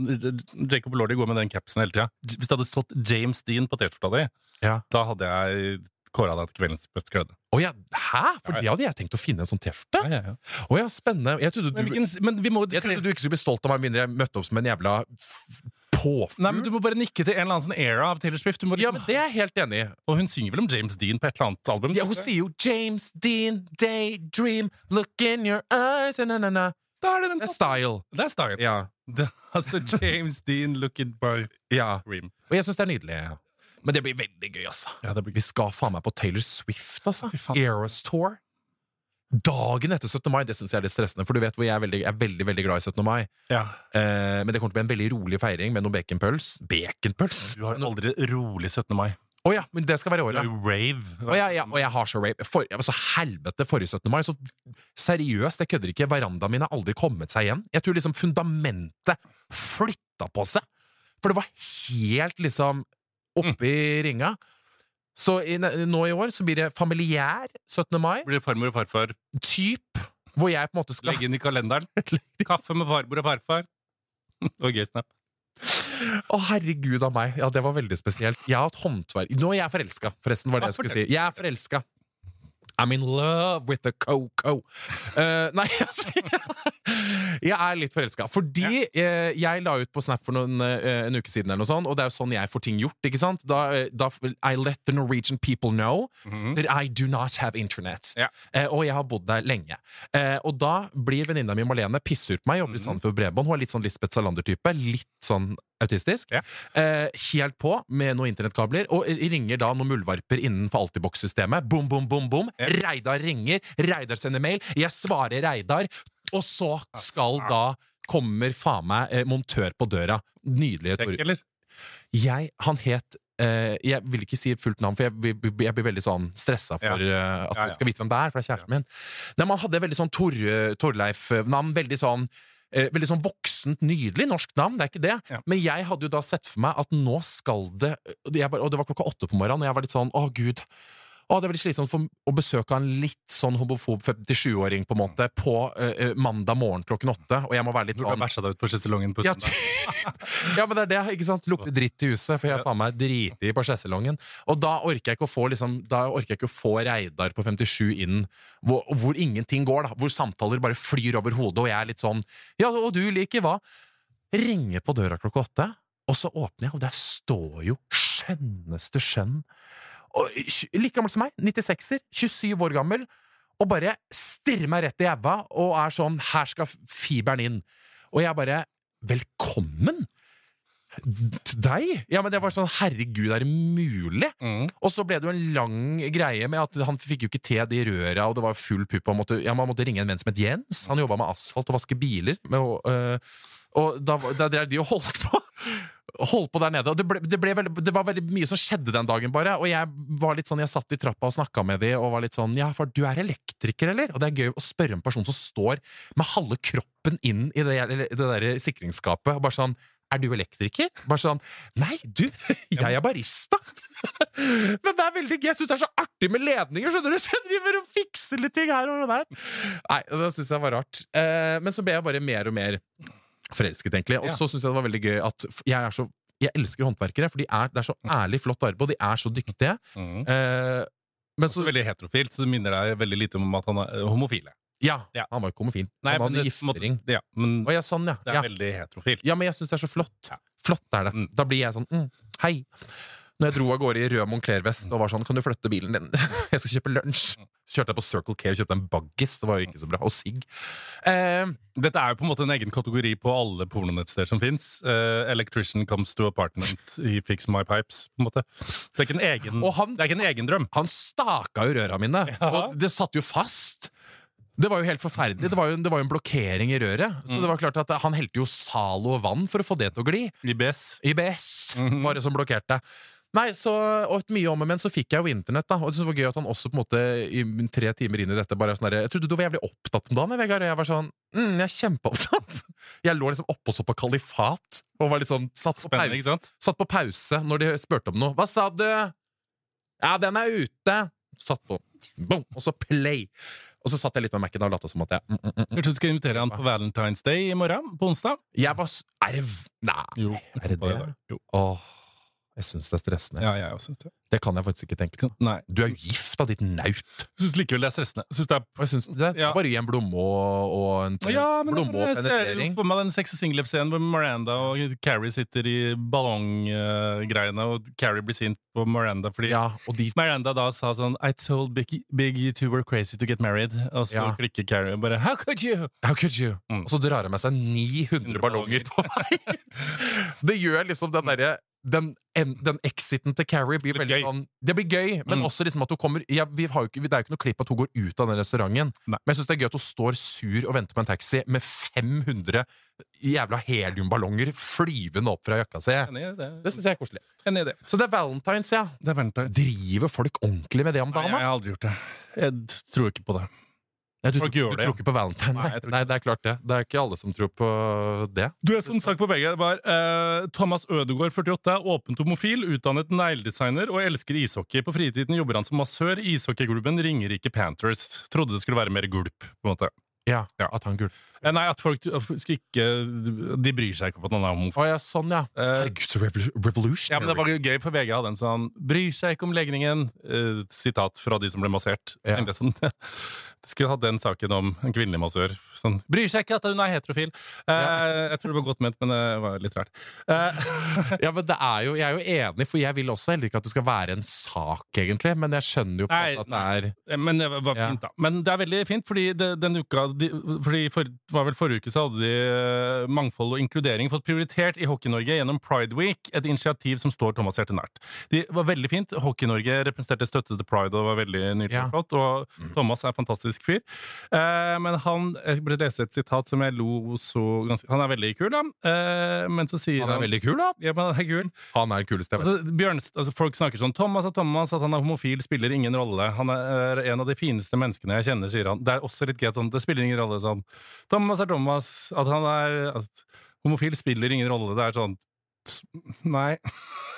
[SPEAKER 2] Jacob Lordy går med den capsen hele tida. Hvis det hadde stått James Dean på T-skjorta di,
[SPEAKER 3] Ja.
[SPEAKER 2] da hadde jeg kåra deg til kveldens best kledde.
[SPEAKER 3] Å ja, hæ? For det hadde jeg tenkt å finne en sånn T-skjorte.
[SPEAKER 2] Ja, ja, ja.
[SPEAKER 3] Å ja, spennende. Jeg trodde,
[SPEAKER 2] Men,
[SPEAKER 3] du,
[SPEAKER 2] hvilken, men vi må
[SPEAKER 3] jeg trodde du ikke skulle bli stolt av meg, med mindre jeg møtte opp som en jævla f- påfugl.
[SPEAKER 2] Nei, men Du må bare nikke til en eller annen sånn era av Taylor Swift. Du må
[SPEAKER 3] Ja,
[SPEAKER 2] liksom,
[SPEAKER 3] men det er jeg helt enig i.
[SPEAKER 2] Og hun synger vel om James Dean på et eller annet album?
[SPEAKER 3] Ja, hun sier jo 'James Dean, daydream, look in your eyes' na, na, na.
[SPEAKER 2] Da er det den
[SPEAKER 3] Det er
[SPEAKER 2] satt.
[SPEAKER 3] style.
[SPEAKER 2] Det er style.
[SPEAKER 3] Ja.
[SPEAKER 2] Det- altså James Dean looking by
[SPEAKER 3] ja.
[SPEAKER 2] Dream.
[SPEAKER 3] Og jeg syns det er nydelig. Men det blir veldig gøy, altså.
[SPEAKER 2] Ja, det blir
[SPEAKER 3] Vi skal faen meg på Taylor Swift, altså.
[SPEAKER 2] Fy faen.
[SPEAKER 3] Eras Tour. Dagen etter 17. mai. Det syns jeg er litt stressende, for du vet hvor jeg er veldig, jeg er veldig, veldig glad i 17. mai.
[SPEAKER 2] Ja.
[SPEAKER 3] Eh, men det kommer til å bli en veldig rolig feiring med noen baconpøls. Baconpøls?
[SPEAKER 2] Du har jo aldri rolig 17. mai.
[SPEAKER 3] Å ja, men det skal være
[SPEAKER 2] Du
[SPEAKER 3] året.
[SPEAKER 2] har jo rave.
[SPEAKER 3] Og jeg, jeg, og jeg har så rape. For, altså, helvete, forrige 17. mai. Så seriøst, jeg kødder ikke. Verandaen min har aldri kommet seg igjen. Jeg tror liksom fundamentet flytta på seg. For det var helt liksom oppi ringa. Så i, nå i år så blir det familiær 17. mai.
[SPEAKER 2] Blir farmor og farfar.
[SPEAKER 3] Typ. Hvor jeg på en måte skal
[SPEAKER 2] Legg inn i
[SPEAKER 3] <laughs>
[SPEAKER 2] kalenderen. Kaffe med farmor og farfar. <laughs> Og gøy snap.
[SPEAKER 3] Å, herregud av meg. Ja, det var veldig spesielt. Jeg har hatt håndverk Nå er jeg forelska, forresten, var det jeg skulle si. Jeg er forelska. I'm in love with the coco. Eh, nei, <laughs> altså Jeg er litt forelska. Fordi eh, jeg la ut på Snap for noen, eh, en uke siden, eller noe sånt, og det er jo sånn jeg får ting gjort. ikke sant? Da, eh, da I let the Norwegian people know that I do not have internet.
[SPEAKER 2] Ja.
[SPEAKER 3] Eh, og jeg har bodd der lenge. Eh, og da blir venninna mi Marlene pissur på meg. Jobber i
[SPEAKER 2] Mhm.
[SPEAKER 3] Sandefjord Bredbånd. Hun er litt sånn Lisbeth Salander-type. Litt sånn autistisk.
[SPEAKER 2] Ja.
[SPEAKER 3] Eh, helt på med noen internettkabler. Og ringer da noen muldvarper innenfor Altibox-systemet. Bom, bom, bom, bom.
[SPEAKER 2] Ja.
[SPEAKER 3] Reidar ringer. Reidar sender mail. Jeg svarer Reidar. Og så skal da Kommer faen meg eh, montør på døra. Nydelige
[SPEAKER 2] Tenk,
[SPEAKER 3] Tore.
[SPEAKER 2] eller?
[SPEAKER 3] Jeg, han het eh, Jeg vil ikke si fullt navn, for jeg, blir- blir- jeg blir veldig sånn stressa
[SPEAKER 2] Ja.
[SPEAKER 3] for eh,
[SPEAKER 2] Ja,
[SPEAKER 3] at folk
[SPEAKER 2] ja.
[SPEAKER 3] skal vite hvem det er, for det er kjæresten min. Nei, Man hadde veldig sånn Tor, Torleif-navn. Veldig sånn eh, Veldig sånn voksent, nydelig norsk navn, det er ikke det.
[SPEAKER 2] Ja.
[SPEAKER 3] Men jeg hadde jo da sett for meg at nå skal det og jeg bare, Og det var klokka åtte på morgenen, og jeg var litt sånn Å, gud. Å, det er veldig slitsomt for, å besøke en litt sånn homofob 57-åring på en måte på eh, eh, mandag morgen klokken åtte, og jeg må være litt
[SPEAKER 2] Du har
[SPEAKER 3] sånn
[SPEAKER 2] bæsja deg ut på sjeselongen på
[SPEAKER 3] ja,
[SPEAKER 2] utsiden der.
[SPEAKER 3] typ. <laughs> ja, men det er det, ikke sant? Lukter dritt i huset, for jeg er faen meg driti på skjesselongen. Og da orker jeg ikke å få liksom, da orker jeg ikke å få Reidar på 57 inn, hvor, hvor ingenting går, da. Hvor samtaler bare flyr over hodet, og jeg er litt sånn Ja, og du liker hva? Ringer på døra klokka åtte, og så åpner jeg, og der står jo skjønneste skjønn. Og, tj- like gammel som meg, 96-er, 27 år gammel, og bare stirrer meg rett i jæva og er sånn 'her skal fiberen inn'. Og jeg bare 'velkommen'? Til deg? Ja, men det var sånn 'herregud, er det mulig'?
[SPEAKER 2] Mm.
[SPEAKER 3] Og så ble det jo en lang greie med at han fikk jo ikke te de røra, og det var full pupp. og han Måtte, ja, man måtte ringe en venn som het Jens. Han jobba med asfalt og vaske biler. Med, å, øh, og da, var- da drev de og holdt på. Holdt på der nede, og det, ble, det, ble veldig, det var veldig mye som skjedde den dagen, bare. Og jeg var litt sånn, jeg satt i trappa og snakka med de og var litt sånn Ja, for du er elektriker, eller? Og det er gøy å spørre en person som står med halve kroppen inn i det, eller det der sikringsskapet, og bare sånn Er du elektriker? Bare sånn Nei, du, <laughs> jeg er barista! Men det er veldig gøy. Jeg syns det er så artig med ledninger. Skjønner du? <laughs> Så jeg driver og fikser litt ting her og der. Nei, det syns jeg var rart. Eh, men så ble jeg bare mer og mer forelsket, egentlig. Og
[SPEAKER 2] Ja.
[SPEAKER 3] så syns jeg det var veldig gøy at f- jeg er så jeg elsker håndverkere, for de er, det er så ærlig, flott arbeid, og de er så dyktige.
[SPEAKER 2] Mm.
[SPEAKER 3] Eh, men
[SPEAKER 2] Så
[SPEAKER 3] så
[SPEAKER 2] veldig heterofilt, så det minner deg veldig lite om at han er eh, homofil.
[SPEAKER 3] Ja,
[SPEAKER 2] Ja.
[SPEAKER 3] han var jo ikke homofil.
[SPEAKER 2] Nei,
[SPEAKER 3] han
[SPEAKER 2] men
[SPEAKER 3] hadde
[SPEAKER 2] det, på en måte-
[SPEAKER 3] giftering.
[SPEAKER 2] ja, men
[SPEAKER 3] Å ja, sånn, ja.
[SPEAKER 2] det er
[SPEAKER 3] ja.
[SPEAKER 2] veldig heterofilt.
[SPEAKER 3] Ja, men jeg syns det er så flott.
[SPEAKER 2] Ja.
[SPEAKER 3] Flott er det.
[SPEAKER 2] Mm.
[SPEAKER 3] Da blir jeg sånn mm, Hei. Når jeg dro av gårde i rød Moncler-vest og var sånn Kan du flytte bilen din? <laughs> Jeg skal kjøpe lunsj. Så kjørte jeg på Circle K og kjøpte en baggis. Det var jo ikke så bra. Og sigg. Eh,
[SPEAKER 2] Dette er jo på en måte en egen kategori på alle pornonettsteder som fins. electrician comes to apartment, he fix my pipes, på en måte. Så det er ikke en egen,
[SPEAKER 3] Og han-
[SPEAKER 2] det er ikke en egen drøm.
[SPEAKER 3] han staka jo røra mine, og det satt jo fast. Det var jo helt forferdelig. Det var jo, det var jo en blokkering i røret.
[SPEAKER 2] Mm.
[SPEAKER 3] Så det var klart at han helte jo Zalo og vann for å få det til å gli.
[SPEAKER 2] IBS.
[SPEAKER 3] IBS
[SPEAKER 2] Mhm.
[SPEAKER 3] var det som blokkerte. Nei, så, og et mye om og men så fikk jeg jo internett, da. Og det var gøy at han også på en måte i tre timer inn i dette bare er sånn der, Jeg trodde du var jævlig opptatt om dagen, jeg, Vegard, og jeg var sånn mm, Jeg er kjempeopptatt. <laughs> Jeg lå liksom oppå så på Kalifat og var litt sånn satt på,
[SPEAKER 2] Spennende, ikke
[SPEAKER 3] pause,
[SPEAKER 2] sant?
[SPEAKER 3] satt på pause når de spurte om noe. Hva sa du? Ja, den er ute. Satt på. Boom, og så play. Og så satt jeg litt med Mac-en da og lot som at jeg mm, mm, mm.
[SPEAKER 2] Jeg tror du skal invitere han på Valentine's Day i morgen, på onsdag.
[SPEAKER 3] Jeg var s- Er det v- Nei.
[SPEAKER 2] Jo.
[SPEAKER 3] Er det det?
[SPEAKER 2] Jo.
[SPEAKER 3] Åh, Jeg syns det er stressende.
[SPEAKER 2] Ja, jeg også synes det.
[SPEAKER 3] Det kan jeg faktisk ikke tenke på.
[SPEAKER 2] Nei.
[SPEAKER 3] Du er jo gift, da, ditt naut!
[SPEAKER 2] Jeg syns likevel det er stressende. Jeg synes det er
[SPEAKER 3] Og jeg synes det er
[SPEAKER 2] Ja.
[SPEAKER 3] Bare gi en blomme og, og en
[SPEAKER 2] Ja, men
[SPEAKER 3] blomme og
[SPEAKER 2] jeg ser jo
[SPEAKER 3] penetrering.
[SPEAKER 2] for meg den sex og singlep-scenen hvor Miranda og Carrie sitter i ballonggreiene, og Carrie blir sint på Miranda fordi
[SPEAKER 3] Ja, og de
[SPEAKER 2] Miranda da sa sånn I told Big, Big you two were crazy to get married. Og så
[SPEAKER 3] Ja.
[SPEAKER 2] klikker Carrie og bare How could you?
[SPEAKER 3] How could you?
[SPEAKER 2] Mm.
[SPEAKER 3] Og så drar han med seg 900 ballonger på meg! <laughs> det gjør liksom den derre den, en, den exiten til Carrie blir
[SPEAKER 2] Det blir
[SPEAKER 3] veldig
[SPEAKER 2] gøy.
[SPEAKER 3] sånn Det blir gøy, men
[SPEAKER 2] Mm.
[SPEAKER 3] også liksom at hun kommer ja, vi har jo ikke, Det er jo ikke noe klipp at hun går ut av den restauranten,
[SPEAKER 2] Nei.
[SPEAKER 3] men jeg syns det er gøy at hun står sur og venter på en taxi med 500 jævla heliumballonger flyvende opp fra jakka si.
[SPEAKER 2] Enig i det.
[SPEAKER 3] Det syns jeg er koselig.
[SPEAKER 2] Enig i det.
[SPEAKER 3] Så det er valentines, ja.
[SPEAKER 2] Det er valentine.
[SPEAKER 3] Driver folk ordentlig med det om
[SPEAKER 2] Nei,
[SPEAKER 3] dagen?
[SPEAKER 2] jeg
[SPEAKER 3] da?
[SPEAKER 2] har aldri gjort det. Jeg d- tror ikke på det.
[SPEAKER 3] Nei, du,
[SPEAKER 2] folk
[SPEAKER 3] tror-
[SPEAKER 2] gjør
[SPEAKER 3] du
[SPEAKER 2] det,
[SPEAKER 3] tror ikke på valentine?
[SPEAKER 2] Nei,
[SPEAKER 3] Nei,
[SPEAKER 2] jeg tror ikke
[SPEAKER 3] nei, det er klart det. Det er ikke alle som tror på det.
[SPEAKER 2] Du, jeg så en sak på VG var eh, Thomas Ødegaard, 48, er åpent homofil, utdannet negledesigner og elsker ishockey. På fritiden jobber han som massør i ishockeyklubben Ringerike Panthers. Trodde det skulle være mer gulp, på en måte.
[SPEAKER 3] Ja,
[SPEAKER 2] Ja.
[SPEAKER 3] At han gul
[SPEAKER 2] Eh, nei, at folk at folk skal ikke De bryr seg ikke om at han er homofil.
[SPEAKER 3] Å ja, sånn, ja.
[SPEAKER 2] Eh,
[SPEAKER 3] Herregud, så revolu- revolutionary.
[SPEAKER 2] Ja, men det var jo gøy, for VG hadde en sånn 'bryr seg ikke om legningen', eh, sitat fra de som ble massert.
[SPEAKER 3] Ja.
[SPEAKER 2] Tenkte jeg Sånn, <laughs> de skulle hatt den saken om en kvinnelig massør. Sånn, 'Bryr seg ikke at hun er heterofil'. Eh, Jeg tror det var godt ment, men det var litt rart. Eh, <laughs>
[SPEAKER 3] ja, men det er jo, jeg er jo enig, for jeg vil også heller ikke at det skal være en sak, egentlig. Men jeg skjønner jo på
[SPEAKER 2] Nei,
[SPEAKER 3] en måte at det er
[SPEAKER 2] Eh, Men det var
[SPEAKER 3] Ja.
[SPEAKER 2] fint, da. Men det er veldig fint, fordi det, den uka de, fordi for, det var vel Forrige uke så hadde de eh, mangfold og inkludering fått prioritert i Hockey-Norge gjennom Pride Week, et initiativ som står Thomas hjerte nært. Det var veldig fint. Hockey-Norge representerte støtte til Pride og var veldig nydelig
[SPEAKER 3] Ja.
[SPEAKER 2] og flott. Og Thomas er en fantastisk fyr. Eh, men han Jeg burde lese et sitat som jeg lo så ganske Han er veldig kul, da. Eh, men så sier
[SPEAKER 3] Han
[SPEAKER 2] han,
[SPEAKER 3] er veldig kul, da.
[SPEAKER 2] ja, men han er kul.
[SPEAKER 3] Han er den kuleste jeg vet.
[SPEAKER 2] Altså, Bjørnst, altså, folk snakker sånn Thomas er Thomas, at han er homofil spiller ingen rolle. Han er en av de fineste menneskene jeg kjenner, sier han. Det er også litt gøy at sånn, det spiller ingen rolle. Sånn. Thomas er Thomas, at han er at Homofil spiller ingen rolle. Det er sånn s- Nei. <laughs>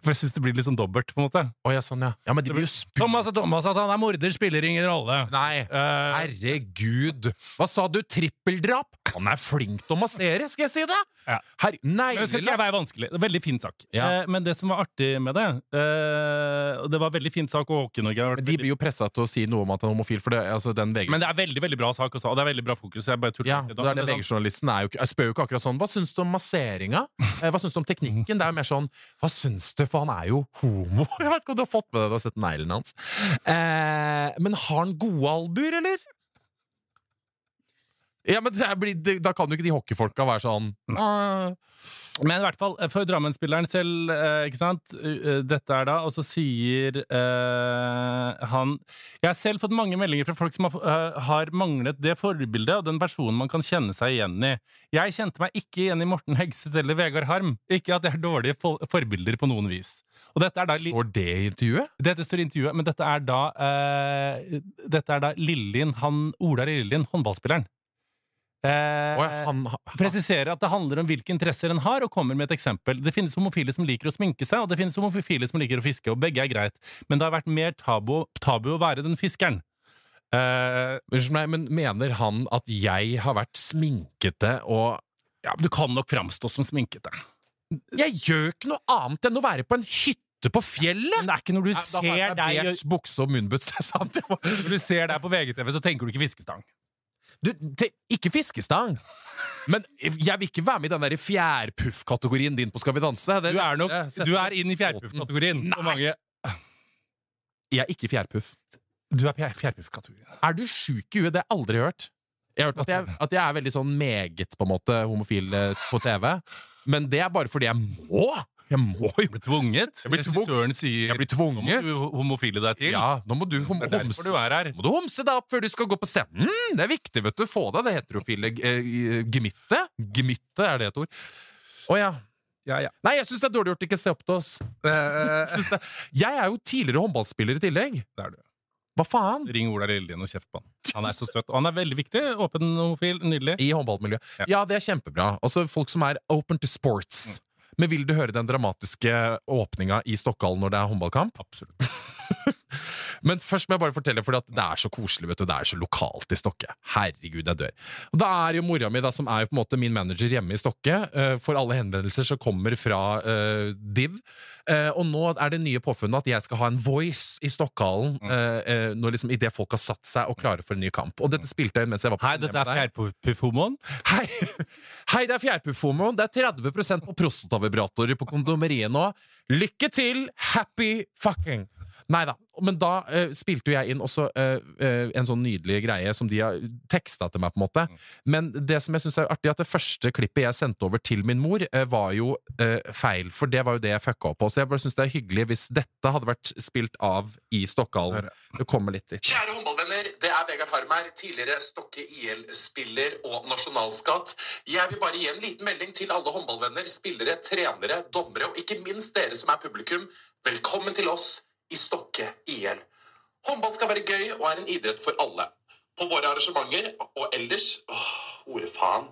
[SPEAKER 2] For jeg syns det blir litt sånn dobbelt, på en måte.
[SPEAKER 3] Å ja, sånn, ja. Ja, men de blir jo spu...
[SPEAKER 2] Thomas er Thomas, at han er morder spiller ingen rolle.
[SPEAKER 3] Nei.
[SPEAKER 2] Eh,
[SPEAKER 3] Herregud! Hva sa du? Trippeldrap? Han er flink til å massere, skal jeg si det!
[SPEAKER 2] Ja.
[SPEAKER 3] Her... Nei,
[SPEAKER 2] Men det skal ikke være vanskelig. Det er en Veldig fin sak.
[SPEAKER 3] Ja.
[SPEAKER 2] Eh, men det som var artig med det eh, Og det var en veldig fin sak, og Hockey-Norge har vært
[SPEAKER 3] Men de blir jo pressa til å si noe om at han er homofil, for det, altså, den VG
[SPEAKER 2] Men det er veldig veldig bra sak også, og det er veldig bra fokus. Jeg bare tuller
[SPEAKER 3] Ja,
[SPEAKER 2] ikke
[SPEAKER 3] det
[SPEAKER 2] da,
[SPEAKER 3] er
[SPEAKER 2] men
[SPEAKER 3] det
[SPEAKER 2] det er sant.
[SPEAKER 3] VG-journalisten er jo ikke, jeg spør jo ikke akkurat sånn Hva syns du om masseringa? Eh, Hva syns du om teknikken? Det er jo mer sånn Hva syns du? For han er jo homo. <laughs> Jeg vet ikke om du har fått med deg det, du har sett neglen hans. Eh, men har han gode albuer, eller? Ja, men det er, blir- det, Da kan jo ikke de hockeyfolka være sånn «Ah,
[SPEAKER 2] Men i hvert fall, eh, for Drammen-spilleren selv, eh, ikke sant? Eh, Dette er da, og så sier eh, han Jeg har selv fått mange meldinger fra folk som har, eh, har manglet det forbildet og den personen man kan kjenne seg igjen i. Jeg kjente meg ikke igjen i Morten Hegseth eller Vegard Harm. Ikke at det er dårlige fol- forbilder på noen vis. Og dette er da li-
[SPEAKER 3] Står det i intervjuet?
[SPEAKER 2] Dette står i intervjuet, men dette er da eh, Dette er da Lillin, han Ola Lillin, håndballspilleren. Eh,
[SPEAKER 3] Å, ja, han, han,
[SPEAKER 2] presiserer at det handler om hvilke interesser en har, og kommer med et eksempel. Det finnes homofile som liker å sminke seg, og det finnes homofile som liker å fiske, og begge er greit, men det har vært mer tabu, tabu å være den fiskeren. Eh,
[SPEAKER 3] Unnskyld meg, men mener han at jeg har vært sminkete og
[SPEAKER 2] ja, men du kan nok framstå som sminkete.
[SPEAKER 3] Jeg gjør ikke noe annet enn å være på en hytte på fjellet!
[SPEAKER 2] Men det er ikke når du
[SPEAKER 3] Da har jeg
[SPEAKER 2] ser
[SPEAKER 3] meg
[SPEAKER 2] deg
[SPEAKER 3] beige bukse og munnbuds. <laughs> det er sant. Jeg må-
[SPEAKER 2] når du ser deg på VGTV, så tenker du ikke fiskestang.
[SPEAKER 3] Du, te, ikke fiskestang! Men jeg vil ikke være med i den der fjærpuff-kategorien din på Skal vi danse. Det,
[SPEAKER 2] Du er nok
[SPEAKER 3] det-
[SPEAKER 2] Du er inn i fjærpuff-kategorien. for mange.
[SPEAKER 3] Jeg er ikke fjærpuff.
[SPEAKER 2] Du er fjær- fjærpuff-kategorien.
[SPEAKER 3] Er du sjuk i huet? Det har jeg aldri hørt. Jeg har hørt at jeg, at jeg er veldig sånn meget på en måte homofil eh, på TV, men det er bare fordi jeg må! Jeg må jo bli
[SPEAKER 2] Tvunget.
[SPEAKER 3] Jeg blir tvung-
[SPEAKER 2] Regissøren sier
[SPEAKER 3] Jeg blir
[SPEAKER 2] Nå må du
[SPEAKER 3] tvunget!
[SPEAKER 2] homofile deg til.
[SPEAKER 3] Ja, nå må du hom
[SPEAKER 2] Det er derfor
[SPEAKER 3] homse
[SPEAKER 2] du er her.
[SPEAKER 3] Må du homse deg opp før du skal gå på scenen? Mm, Det er viktig, vet du. Få deg det heterofile eh, gemittet. Gemittet er det et ord. Å ja.
[SPEAKER 2] Ja, ja.
[SPEAKER 3] Nei, jeg syns det er dårlig gjort ikke å se opp til oss. Synes det. <laughs> Jeg er jo tidligere håndballspiller i tillegg.
[SPEAKER 2] Det er du.
[SPEAKER 3] Hva faen?
[SPEAKER 2] Ring Ola Lillelien og kjeft på han. Han er så søt. Og han er veldig viktig. Åpen homofil. Nydelig.
[SPEAKER 3] I håndballmiljøet.
[SPEAKER 2] Ja.
[SPEAKER 3] Ja, Mm. det er kjempebra. Altså, folk som er open to sports. Men vil du høre den dramatiske åpninga i Stockholm når det er håndballkamp?
[SPEAKER 2] Absolutt.
[SPEAKER 3] Men først må jeg bare fortelle, for det er så koselig, vet du. Det er så lokalt i Stokke. Herregud, jeg dør. Og da er jo mora mi, da, som er jo på en måte min manager hjemme i Stokke, eh, for alle henvendelser som kommer fra eh, DIV. Eh, og nå er det nye påfunnet at jeg skal ha en voice i Stokkhallen
[SPEAKER 2] Mm.
[SPEAKER 3] eh, eh, når liksom, idet folk har satt seg og klare for en ny kamp. Og dette spilte jeg mens jeg var på
[SPEAKER 2] Hei, dette er Fjærpufomoen.
[SPEAKER 3] Hei, hei det er Fjærpufomoen. Det er 30 på prostatavibratorer på kondomeriet nå. Lykke til! Happy fucking! Nei da. Men da eh, spilte jo jeg inn også eh, eh, en sånn nydelig greie som de har teksta til meg, på en måte. Men det som jeg syns er artig, at det første klippet jeg sendte over til min mor, eh, var jo eh, feil. For det var jo det jeg fucka opp på. Så jeg bare syns det er hyggelig hvis dette hadde vært spilt av i Stokkhallen. Det kommer litt dit.
[SPEAKER 6] Kjære håndballvenner, det er Vegard Harm her, tidligere Stokke IL-spiller og nasjonalskatt. Jeg vil bare gi en liten melding til alle håndballvenner, spillere, trenere, dommere og ikke minst dere som er publikum. Velkommen til oss i Stokke IL. Håndball skal være gøy og er en idrett for alle. På våre arrangementer og ellers Åh, ordet faen.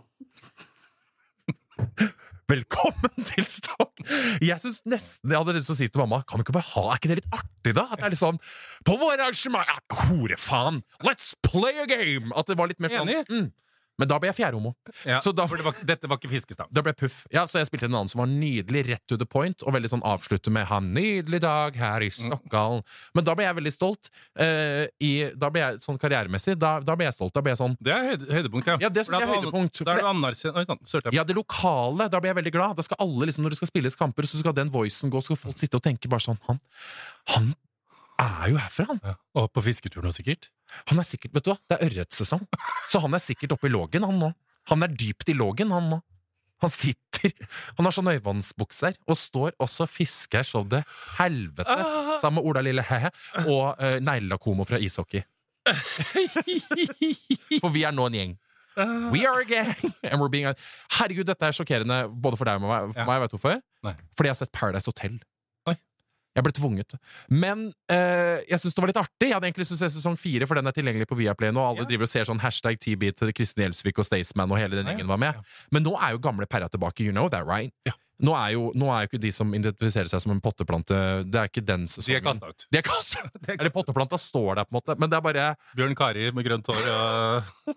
[SPEAKER 3] Velkommen til Stokk! Jeg synes nesten jeg hadde lyst til å si til mamma Kan du ikke bare ha, Er ikke det litt artig, da? At det er litt sånn På våre arrangement ja, Horefaen! Let's play a game! At det var litt mer sånn
[SPEAKER 2] Enig.
[SPEAKER 3] mm. Men da ble jeg fjærhomo.
[SPEAKER 2] Ja,
[SPEAKER 3] Så da,
[SPEAKER 2] for det var, dette var ikke fiskestang.
[SPEAKER 3] da ble jeg puff. Ja, så jeg spilte en annen som var nydelig, rett to the point, og veldig sånn avslutte med 'Ha en nydelig dag her i Stokkhallen'. Men da ble jeg veldig stolt. eh, i, da ble jeg sånn karrieremessig Da, da ble jeg stolt. Da ble jeg sånn
[SPEAKER 2] Det er høyde, høydepunkt, ja.
[SPEAKER 3] Ja, det synes
[SPEAKER 2] For da
[SPEAKER 3] jeg
[SPEAKER 2] er
[SPEAKER 3] er
[SPEAKER 2] du an-
[SPEAKER 3] høydepunkt, for
[SPEAKER 2] Da er
[SPEAKER 3] det-
[SPEAKER 2] du anerkjent Oi sann, sørte jeg.
[SPEAKER 3] Ja, det lokale. Da blir jeg veldig glad. Da skal alle, liksom, Når det skal spilles kamper, så skal den voicen gå, så skal folk sitte og tenke bare sånn Han, han er jo herfra, han!
[SPEAKER 2] Og på fisketuren også, sikkert.
[SPEAKER 3] Han er sikkert, vet du hva, Det er ørretsesong, så han er sikkert oppe i lågen, han nå. Han er dypt i lågen, han nå. Han sitter Han har sånn øyevannsbukser, og står også og fisker så det helvete, sammen med Ola Lille Hæ og uh, Neglelakomo fra ishockey. <laughs> For vi er nå en gjeng. We are a gang! <laughs> And we're being a... Herregud, dette er sjokkerende både for deg og meg. For
[SPEAKER 2] Ja.
[SPEAKER 3] meg vet du hvorfor?
[SPEAKER 2] Nei.
[SPEAKER 3] Fordi jeg har sett Paradise Hotel.
[SPEAKER 2] Oi.
[SPEAKER 3] Jeg ble tvunget. Men eh, jeg syns det var litt artig. Jeg hadde egentlig lyst til å se sesong fire, for den er tilgjengelig på Viaplay nå. Alle
[SPEAKER 2] Ja.
[SPEAKER 3] driver og ser sånn hashtag TB til Kristin Gjelsvik og Staysman og hele den
[SPEAKER 2] Ja, ja.
[SPEAKER 3] gjengen var med.
[SPEAKER 2] Ja.
[SPEAKER 3] Men nå er jo gamle Perra tilbake. You know that, right? Nå, er jo, nå er jo ikke de som identifiserer seg som en potteplante Det er ikke den
[SPEAKER 2] De
[SPEAKER 3] sesongen.
[SPEAKER 2] er kasta ut.
[SPEAKER 3] De er kastet.
[SPEAKER 2] <laughs> De er
[SPEAKER 3] Eller potteplanta står der, på en måte. Men det er bare
[SPEAKER 2] Bjørn Kari med grønt hår <laughs> og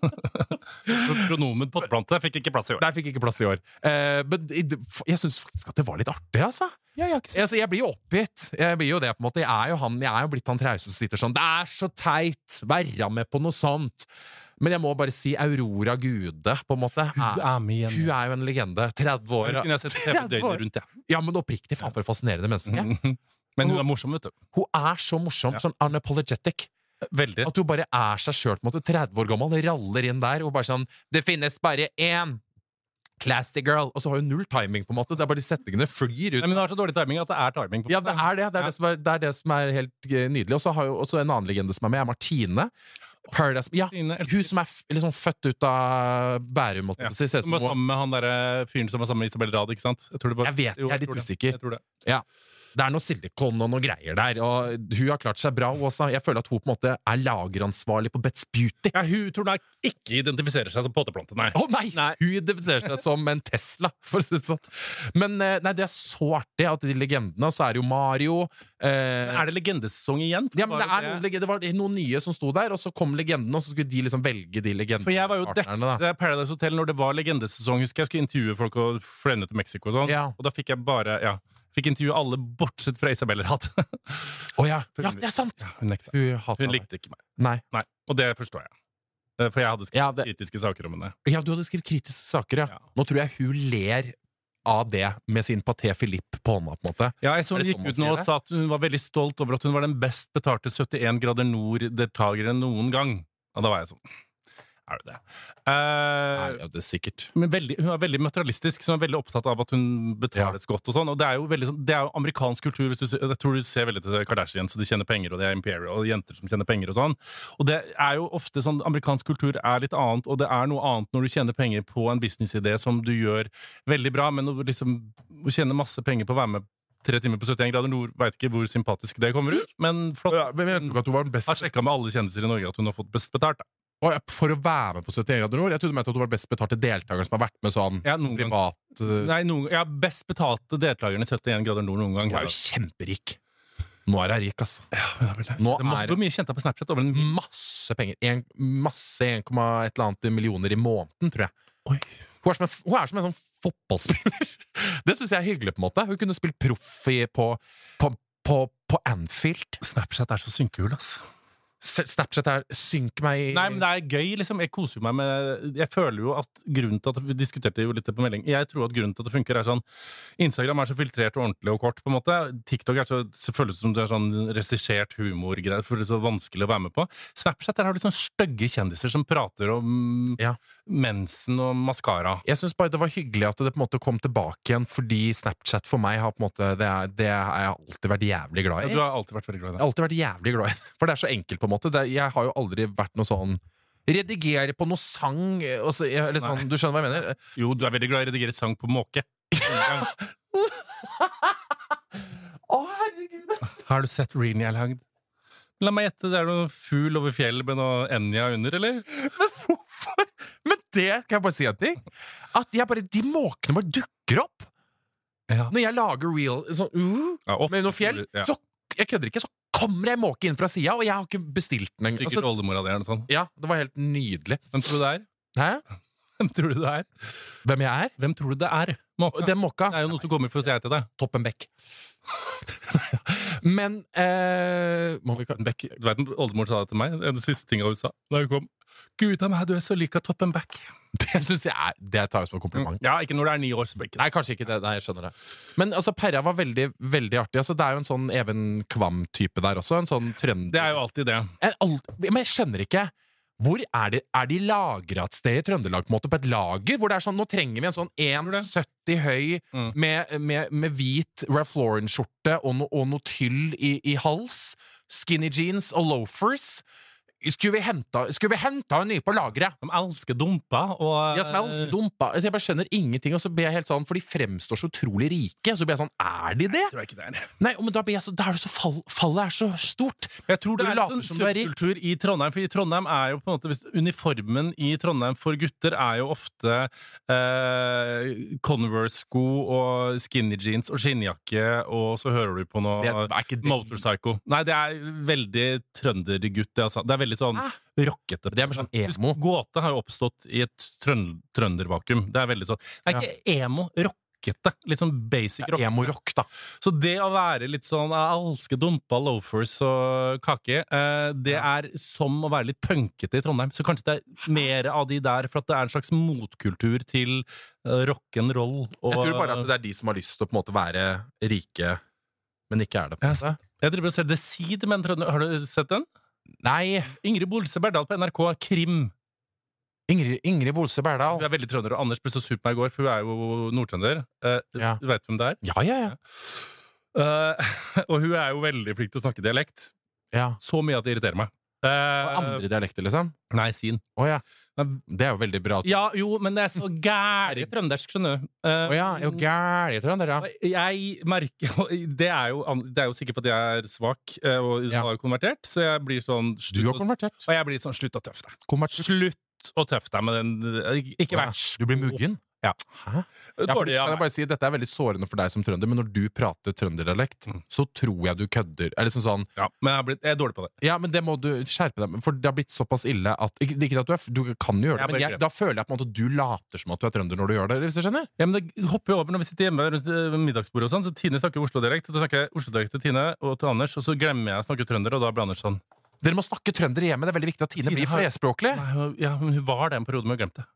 [SPEAKER 2] pronomen potteplante fikk ikke plass i år.
[SPEAKER 3] Der fikk ikke plass i år. Eh, men i- jeg syns faktisk at det var litt artig, altså. altså. Jeg blir jo oppgitt. Jeg blir jo det, på en måte. Jeg er jo, han, jeg er jo blitt han trause som sitter sånn Det er så teit! Være med på noe sånt! Men jeg må bare si Aurora Gude, på en måte. Hun
[SPEAKER 2] er med igjen.
[SPEAKER 3] Hun er jo en legende. 30 år.
[SPEAKER 2] Hun kunne jeg sett TV døgnet rundt, jeg.
[SPEAKER 3] Ja, men oppriktig faen for et fascinerende
[SPEAKER 2] Mhm.
[SPEAKER 3] menneske.
[SPEAKER 2] Men hun er morsom, vet du.
[SPEAKER 3] Hun er så morsom. Sånn unapologetic.
[SPEAKER 2] Veldig.
[SPEAKER 3] At hun bare er seg sjøl, på en måte. 30 år gammel, raller inn der og bare sånn Det finnes bare én! Classy girl! Og så har hun null timing, på en måte. Det er bare de setningene flyr
[SPEAKER 2] Nei,
[SPEAKER 3] ut.
[SPEAKER 2] men hun har så dårlig timing at det er timing. på
[SPEAKER 3] Ja, det er det. Det er, det, som er, det, er det som er helt eh, nydelig. Og så har jo også en annen legende som er med, er Martine. Paradise Ja,
[SPEAKER 2] Martine, elsker-
[SPEAKER 3] hun som er f liksom født ut av Bærum, holdt jeg
[SPEAKER 2] Ja.
[SPEAKER 3] på å si. Ser ut
[SPEAKER 2] Som var
[SPEAKER 3] som hun-
[SPEAKER 2] sammen med han derre fyren som var sammen med Isabel Rad, ikke sant? Jeg, tror det var,
[SPEAKER 3] Jeg vet, jeg er litt
[SPEAKER 2] tror det.
[SPEAKER 3] usikker.
[SPEAKER 2] Jeg tror det.
[SPEAKER 3] Ja. Det er noe silikon og noe greier der, og hun har klart seg bra, hun også. Jeg føler at hun på en måte er lageransvarlig på Bet's Beauty.
[SPEAKER 2] Ja, hun tror jeg ikke identifiserer seg som potteplante, nei.
[SPEAKER 3] Å nei! Hun identifiserer seg som en Tesla, for å si det sånn. Men eh, nei, det er så artig at de legendene, så er det jo Mario eh,
[SPEAKER 2] Er det legendesesong igjen? For
[SPEAKER 3] ja, men det,
[SPEAKER 2] var
[SPEAKER 3] er
[SPEAKER 2] jo
[SPEAKER 3] noen, leg- det var noen nye som sto der, og så kom legendene, og så skulle de liksom velge de
[SPEAKER 2] For jeg var jo
[SPEAKER 3] legendepartnerne. da.
[SPEAKER 2] dekket Paradise Hotel når det var legendesesong. Husker jeg skulle intervjue folk og fløyne til Mexico og sånn.
[SPEAKER 3] Ja.
[SPEAKER 2] Og da fikk jeg bare ja, fikk intervjue alle bortsett fra Isabel Rad. <laughs>
[SPEAKER 3] Å ja. ja, det er sant!
[SPEAKER 2] Hun nekta.
[SPEAKER 3] Hun hatet
[SPEAKER 2] Hun
[SPEAKER 3] meg.
[SPEAKER 2] likte ikke meg.
[SPEAKER 3] Nei.
[SPEAKER 2] Nei. Og det forstår jeg. Eh, For jeg hadde skrevet
[SPEAKER 3] Ja, det-
[SPEAKER 2] kritiske saker om henne.
[SPEAKER 3] Ja, du hadde skrevet kritiske saker, ja.
[SPEAKER 2] Ja.
[SPEAKER 3] Nå tror jeg hun ler av det med sin Paté Philippe på hånda, på en måte.
[SPEAKER 2] Ja, jeg så hun
[SPEAKER 3] Er det
[SPEAKER 2] gikk
[SPEAKER 3] sånn man
[SPEAKER 2] ut nå
[SPEAKER 3] sier
[SPEAKER 2] og
[SPEAKER 3] det?
[SPEAKER 2] sa at hun var veldig stolt over at hun var den best betalte 71 grader nord-deltakeren noen gang. Og da var jeg sånn Er du det? Eh,
[SPEAKER 3] Nei, ja, det er sikkert.
[SPEAKER 2] men veldig, hun er veldig materialistisk, så hun er veldig opptatt av at hun betales godt. og sånn, og Det er jo veldig sånn, det er jo amerikansk kultur. hvis du, ser- Jeg tror du ser veldig til Kardashian, så de tjener penger, og det er Imperial, og jenter som tjener penger og sånn. Og det er jo ofte sånn, Amerikansk kultur er litt annet, og det er noe annet når du tjener penger på en businessidé som du gjør veldig bra, men å liksom å tjene masse penger på å være med tre timer på 71 grader nord, veit ikke hvor sympatisk det kommer ut, men flott.
[SPEAKER 3] Ja, men jeg tror ikke at hun var den
[SPEAKER 2] Har
[SPEAKER 3] best
[SPEAKER 2] sjekka med alle kjendiser i Norge at hun har fått best betalt. da.
[SPEAKER 3] Å, ja, For å være med på 71 grader nord? Jeg trodde du mente at hun var den best betalte deltakeren som har vært med sånn
[SPEAKER 2] Ja, noen gang.
[SPEAKER 3] privat eh,
[SPEAKER 2] Nei, noen, ja, Best betalte deltakerne i 71 grader nord noen gang.
[SPEAKER 3] Hun er jo kjemperik. Nå er jeg rik, ass. Nå
[SPEAKER 2] Det må-
[SPEAKER 3] er-
[SPEAKER 2] Hvor mye kjente jeg på Snapchat? Over en
[SPEAKER 3] Masse penger. En, masse 1, et eller annet millioner i måneden, tror jeg. Hun er, som en, f- hun er som en sånn fotballspiller. <laughs> Det syns jeg er hyggelig. på en måte Hun kunne spilt proff i- på, på, på, på Anfield.
[SPEAKER 2] Snapchat er så synkehul, ass.
[SPEAKER 3] S- Snapchat er 'synk meg i
[SPEAKER 2] Nei, men det er gøy, liksom. Jeg koser jo meg med Jeg føler jo at grunnen til at Vi diskuterte jo litt det på melding. Jeg tror at grunnen til at det funker, er sånn Instagram er så filtrert og ordentlig og kort, på en måte. TikTok er så, så føles det som det er sånn regissert humorgreier, for det er så vanskelig å være med på. Snapchat der har du sånn stygge kjendiser som prater om
[SPEAKER 3] Ja.
[SPEAKER 2] mensen og maskara.
[SPEAKER 3] Jeg syns bare det var hyggelig at det på en måte kom tilbake igjen, fordi Snapchat for meg har på en måte Det er, det er jeg alltid vært jævlig glad i.
[SPEAKER 2] Du har alltid vært veldig glad i det.
[SPEAKER 3] Jeg har alltid vært jævlig glad i det. For det er så enkelt, på en måte. Det, er- jeg har jo aldri vært noe sånn Redigere på noe sang eh, og så, jeg- eller sånn, Du skjønner hva jeg mener?
[SPEAKER 2] Jo, du er veldig glad i å redigere sang på <laughs> måke.
[SPEAKER 3] Å, herregud!
[SPEAKER 2] Har du sett reelen jeg har lagd? La meg gjette, det er noe fugl over fjellet med noe Enja under, eller?
[SPEAKER 3] Men hvorfor? Men det kan jeg bare si en ting. At jeg bare, de måkene bare dukker opp.
[SPEAKER 2] Ja.
[SPEAKER 3] Når jeg lager real sånn uh,
[SPEAKER 2] Ja, opp-
[SPEAKER 3] med noe fjell,
[SPEAKER 2] Ja.
[SPEAKER 3] så jeg kødder ikke, så kommer det en måke inn fra sida, og jeg har ikke bestilt den engang.
[SPEAKER 2] Sikkert
[SPEAKER 3] Altså,
[SPEAKER 2] oldemora di eller noe sånt.
[SPEAKER 3] ja, det var helt nydelig.
[SPEAKER 2] sånn? Hvem tror du det er?
[SPEAKER 3] Hæ?
[SPEAKER 2] Hvem tror du det er?
[SPEAKER 3] Hvem jeg er?
[SPEAKER 2] Hvem tror du det er?
[SPEAKER 3] Og
[SPEAKER 2] Måka. Det
[SPEAKER 3] Den måka.
[SPEAKER 2] er jo noe som kommer for å si hei til deg.
[SPEAKER 3] Toppen <laughs> Beck. Men eh, må vi <laughs> ka-
[SPEAKER 2] Beck, du vet, Oldemor sa det til meg, det er det siste tinga hun sa da hun kom. Gud av meg, du er så lik av Toppen Beck.
[SPEAKER 3] Det synes jeg er Det tar jeg som en kompliment.
[SPEAKER 2] Ja, ikke når det er ni år, så blir det ikke det.
[SPEAKER 3] Nei, kanskje ikke det. Nei, jeg skjønner det. Men altså, Perra var veldig veldig artig. Altså, det er jo en sånn Even Kvam-type der også. En sånn trønder...
[SPEAKER 2] Det er jo alltid det.
[SPEAKER 3] Jeg alt- Men jeg skjønner ikke. Hvor Er det Er de lagra et sted i Trøndelag, på en måte, på et lager? Hvor det er sånn, Nå trenger vi en sånn 1,70 høy
[SPEAKER 2] Mm.
[SPEAKER 3] med, med, med hvit Ralph Lauren-skjorte og, no, og noe tyll i, i hals. Skinny jeans og loafers. Skulle vi henta, skulle vi henta en ny på lageret?
[SPEAKER 2] De elsker dumpa og
[SPEAKER 3] Ja, som jeg
[SPEAKER 2] Eh.
[SPEAKER 3] elsker dumpa. Altså, jeg bare skjønner ingenting, og så blir jeg helt sånn, for de fremstår så utrolig rike. Så blir jeg sånn, er de det?
[SPEAKER 2] Tror jeg ikke det er.
[SPEAKER 3] Nei, men da blir jeg så, da er det så fall, fallet er så stort.
[SPEAKER 2] Jeg tror det
[SPEAKER 3] Du
[SPEAKER 2] er
[SPEAKER 3] later
[SPEAKER 2] en
[SPEAKER 3] som du er
[SPEAKER 2] sånn
[SPEAKER 3] rik.
[SPEAKER 2] subkultur i Trondheim. For i Trondheim er jo på en måte hvis Uniformen i Trondheim for gutter er jo ofte eh, Converse-sko og skinny jeans og skinnjakke, og så hører du på noe
[SPEAKER 3] Det er ikke det.
[SPEAKER 2] Motorpsycho. Nei, det er veldig trøndergutt. Det, altså. det er veldig sånn
[SPEAKER 3] Hæ?
[SPEAKER 2] rockete.
[SPEAKER 3] Det er mer sånn
[SPEAKER 2] Husk,
[SPEAKER 3] emo.
[SPEAKER 2] Gåte har jo oppstått i et trøn trøndervakuum. Det er veldig sånn Det er ikke emo. Rockete. Litt sånn basic rock.
[SPEAKER 3] Emo-rock, da.
[SPEAKER 2] Så det å være litt sånn Jeg elsker dumpa, loafers og kake, eh, det er som å være litt punkete i Trondheim. Så kanskje det er mer av de der, for at det er en slags motkultur til eh, rock'n'roll. og-
[SPEAKER 3] Jeg tror bare at det er de som har lyst til å på en måte være rike, men ikke er det. på en måte.
[SPEAKER 2] Jeg driver og ser The Seed, men Trønder- har du sett den?
[SPEAKER 3] Nei,
[SPEAKER 2] Ingrid Bolse Berdal på NRK Krim.
[SPEAKER 3] Ingrid, Ingrid Bolse Berdal.
[SPEAKER 2] Hun er veldig trønder, og Anders ble så sur på meg i går, for hun er jo nordtrønder. Eh,
[SPEAKER 3] Ja.
[SPEAKER 2] Du veit hvem det er?
[SPEAKER 3] Ja, ja, ja.
[SPEAKER 2] Eh, <laughs> og hun er jo veldig flink til å snakke dialekt.
[SPEAKER 3] ja.
[SPEAKER 2] Så mye at det irriterer meg. Eh,
[SPEAKER 3] Og andre dialekter, liksom.
[SPEAKER 2] Nei, sin.
[SPEAKER 3] Å ja. Det er jo veldig bra.
[SPEAKER 2] Ja, jo, men det er <laughs> så gære trøndersk, skjønner du. Eh,
[SPEAKER 3] Å ja, er jo gæli, tror jeg, dere. ja.
[SPEAKER 2] Jeg merker og Det er jo, <laughs> an- det er jo sikkert fordi jeg er svak eh, og
[SPEAKER 3] Ja.
[SPEAKER 2] har konvertert, så jeg blir sånn
[SPEAKER 3] Du har
[SPEAKER 2] slutt, og,
[SPEAKER 3] konvertert.
[SPEAKER 2] og jeg blir sånn slutt og tøff deg.
[SPEAKER 3] Konvertert.
[SPEAKER 2] Slutt og tøff deg med den eh, Ikke vær
[SPEAKER 3] Du blir muggen.
[SPEAKER 2] Ja.
[SPEAKER 3] Hæ? Ja, for,
[SPEAKER 2] dårlig
[SPEAKER 3] kan
[SPEAKER 2] av
[SPEAKER 3] jeg
[SPEAKER 2] meg.
[SPEAKER 3] bare si, Dette er veldig sårende for deg som trønder, men når du prater trønderdialekt,
[SPEAKER 2] Mm.
[SPEAKER 3] så tror jeg du kødder. Eller sånn sånn
[SPEAKER 2] Ja, men jeg, har blitt, jeg er dårlig på det.
[SPEAKER 3] Ja, men det må du skjerpe deg med, for det har blitt såpass ille at Ikke, det er ikke at du, er, f- du kan jo gjøre
[SPEAKER 2] Jeg
[SPEAKER 3] det, men
[SPEAKER 2] bare
[SPEAKER 3] jeg,
[SPEAKER 2] grep.
[SPEAKER 3] da føler jeg på en måte at du later som at du er trønder når du gjør det. Hvis du skjønner?
[SPEAKER 2] Ja, men det hopper jo over når vi sitter hjemme rundt eh, middagsbordet og sånn, så Tine snakker Oslo-dialekt, og da snakker jeg Oslo-dialekt til Tine og til Anders, og så glemmer jeg å snakke trønder, og da blir Anders sånn
[SPEAKER 3] Dere må snakke trønder i hjemmet. Det er veldig viktig at Tine
[SPEAKER 2] Tine
[SPEAKER 3] blir
[SPEAKER 2] har-
[SPEAKER 3] flerspråklig.
[SPEAKER 2] Nei, hun- ja, men hun var det en periode, men hun glemte det.